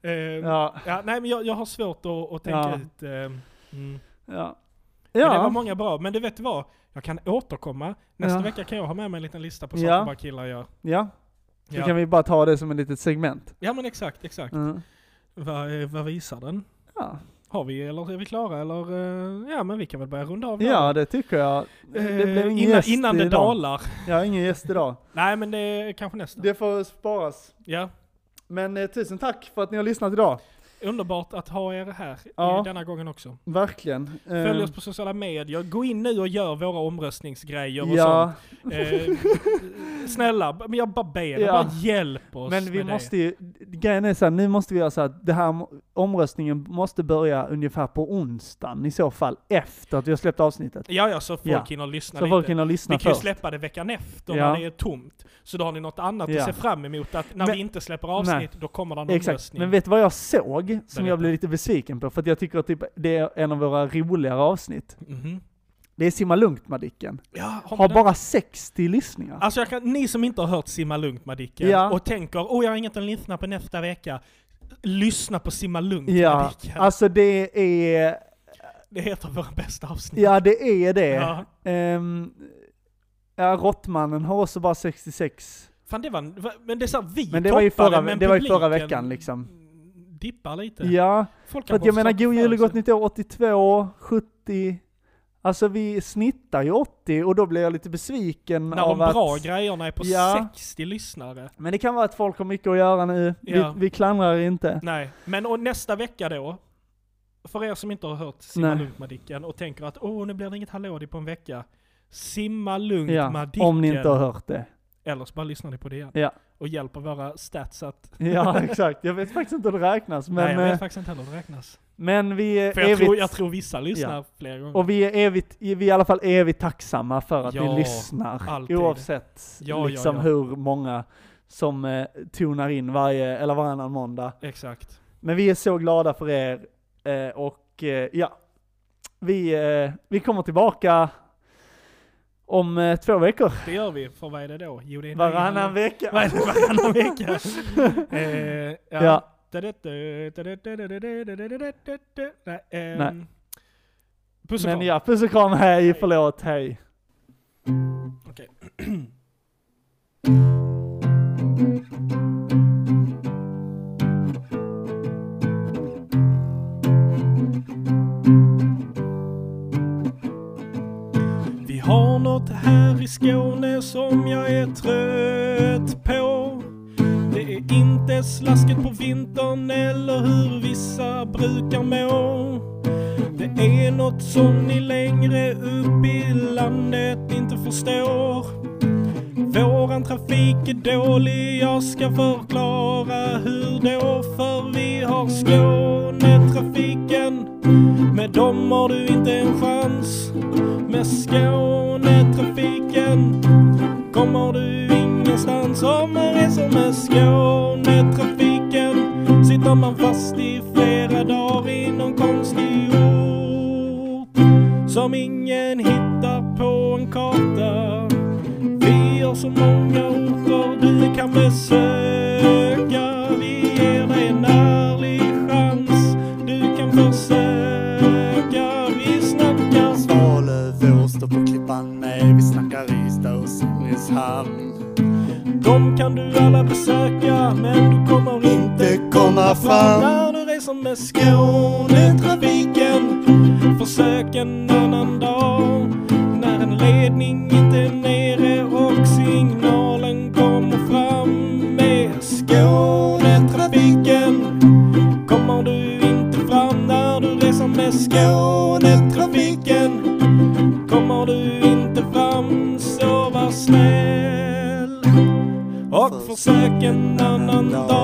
eh, ja. Ja, nej men jag, jag har svårt att, att tänka Ja. ut. Eh, mm. ja. Men det var Ja, många bra, men du vet vad? Jag kan återkomma. Nästa Ja. vecka kan jag ha med mig en liten lista på saker Ja. bara killar gör. ja. Så Ja. kan vi bara ta det som ett litet segment. ja men exakt, exakt. Mm. Vad, eh, vad visar den? Ja. Har vi eller är vi klara eller? eh, Ja men vi kan väl börja runda av där. ja, det tycker jag. Det Eh, blev ingen innan, gäst innan det idag. dalar. Ja, ingen gäst idag. Nej men det är kanske nästa. Det får sparas. Ja. Men eh, tusen tack för att ni har lyssnat idag. Underbart att ha er här Ja. eh, denna gången också. Verkligen. Följ Eh, oss på sociala medier, gå in nu och gör våra omröstningsgrejer och Ja, sånt. Eh, snälla, b- men jag bara ber, Ja. bara hjälp oss men vi med måste ju, grejen är så här, nu måste vi göra så att det här må- omröstningen måste börja ungefär på onsdagen i så fall, efter att vi har släppt avsnittet. det. Ja, ja, så folk Ja. hinner lyssna Så lite. folk hinner lyssna vi kan ju först. släppa det veckan efter Ja. när det är tomt. Så då har ni något annat Ja. att se fram emot, att när Men- vi inte släpper avsnitt, då kommer det en Exakt, omröstning. men vet du vad jag såg som Berätta. jag blev lite besviken på? För att jag tycker att typ det är en av våra roligare avsnitt. Mhm. Det är Simma Lugnt Madicken. Ja, har vi Har den? bara 60 lyssningar. Alltså jag kan, ni som inte har hört Simma Lugnt Madicken Ja. och tänker oh jag har inget att lyssna på nästa vecka. Lyssna på Simma Lugnt ja, Madicken. alltså det är, Det heter våra bästa avsnitt. ja det är det. Ja. Ja. ja, Råttmannen har också bara 66. Fan det var, men det är så här, vi Men det var ju toppade, förra- men det var ju förra publiken veckan, liksom. Dippar lite. Ja, Folk för att kanske jag menar har god för jul och sig. gott nytt år 82, 70. Alltså vi snittar ju 80 och då blir jag lite besviken När de av att... bra grejerna är på Ja. 60 lyssnare. Men det kan vara att folk har mycket att göra nu. Ja. Vi, vi klandrar inte. Nej, men och nästa vecka då. För er som inte har hört Simma Nej. Lugnt Madicken och tänker att oh nu blir det inget hallådi på en vecka. Simma Lugnt Ja, Madicken. om ni inte har hört det. Eller så bara lyssnar ni på det igen. Ja. Och hjälper våra stats att... Ja, exakt. Jag vet faktiskt inte hur det räknas, men, Nej, jag eh, vet faktiskt inte heller hur det räknas. men vi är För jag evigt... tror, jag tror vissa lyssnar fler gånger. Och vi är, evigt, vi är i alla fall evigt tacksamma för att Ja, ni lyssnar. alltid. Oavsett Ja, ja, liksom ja. hur många som eh, tonar in varje, eller varannan måndag. Exakt. Men vi är så glada för er. Eh, och eh, ja, vi, eh, vi kommer tillbaka om eh, två veckor. Det gör vi, för vad är det då? Jo, det är Varannan vecka. Vad är det, varannan vecka? eh, ja. Ja. Nej, ehm, Nej. Puss och Men kram. ja, puss och kram, hej, förlåt, hej. Okej. Vi har något här i Skåne som jag är trött på. Det är inte slasket på vintern eller hur vissa brukar må. Det är något som ni längre upp i landet inte förstår. Våran trafik är dålig, jag ska förklara hur då. För vi har Skånetrafiken, med dem har du inte en chans. Med Skånetrafiken kommer du ingenstans. Om man reser med Skånetrafiken sitter man fast i flera dagar i någon konstig ort som ingen hittar på en karta. Vi har så många orter du kan besöka. Vi ger dig en ärlig chans du kan försöka. Vi snackar Svalövå står på klippan med Vi snackar Ystad och Simrishamn De kan du alla besöka men du kommer inte Inte komma fram när du reser med Skånetrafiken. Försök en annan dag när en ledning inte är nere och signalen kommer fram med Skånetrafiken. Kommer du inte fram när du reser med försök en annan dag.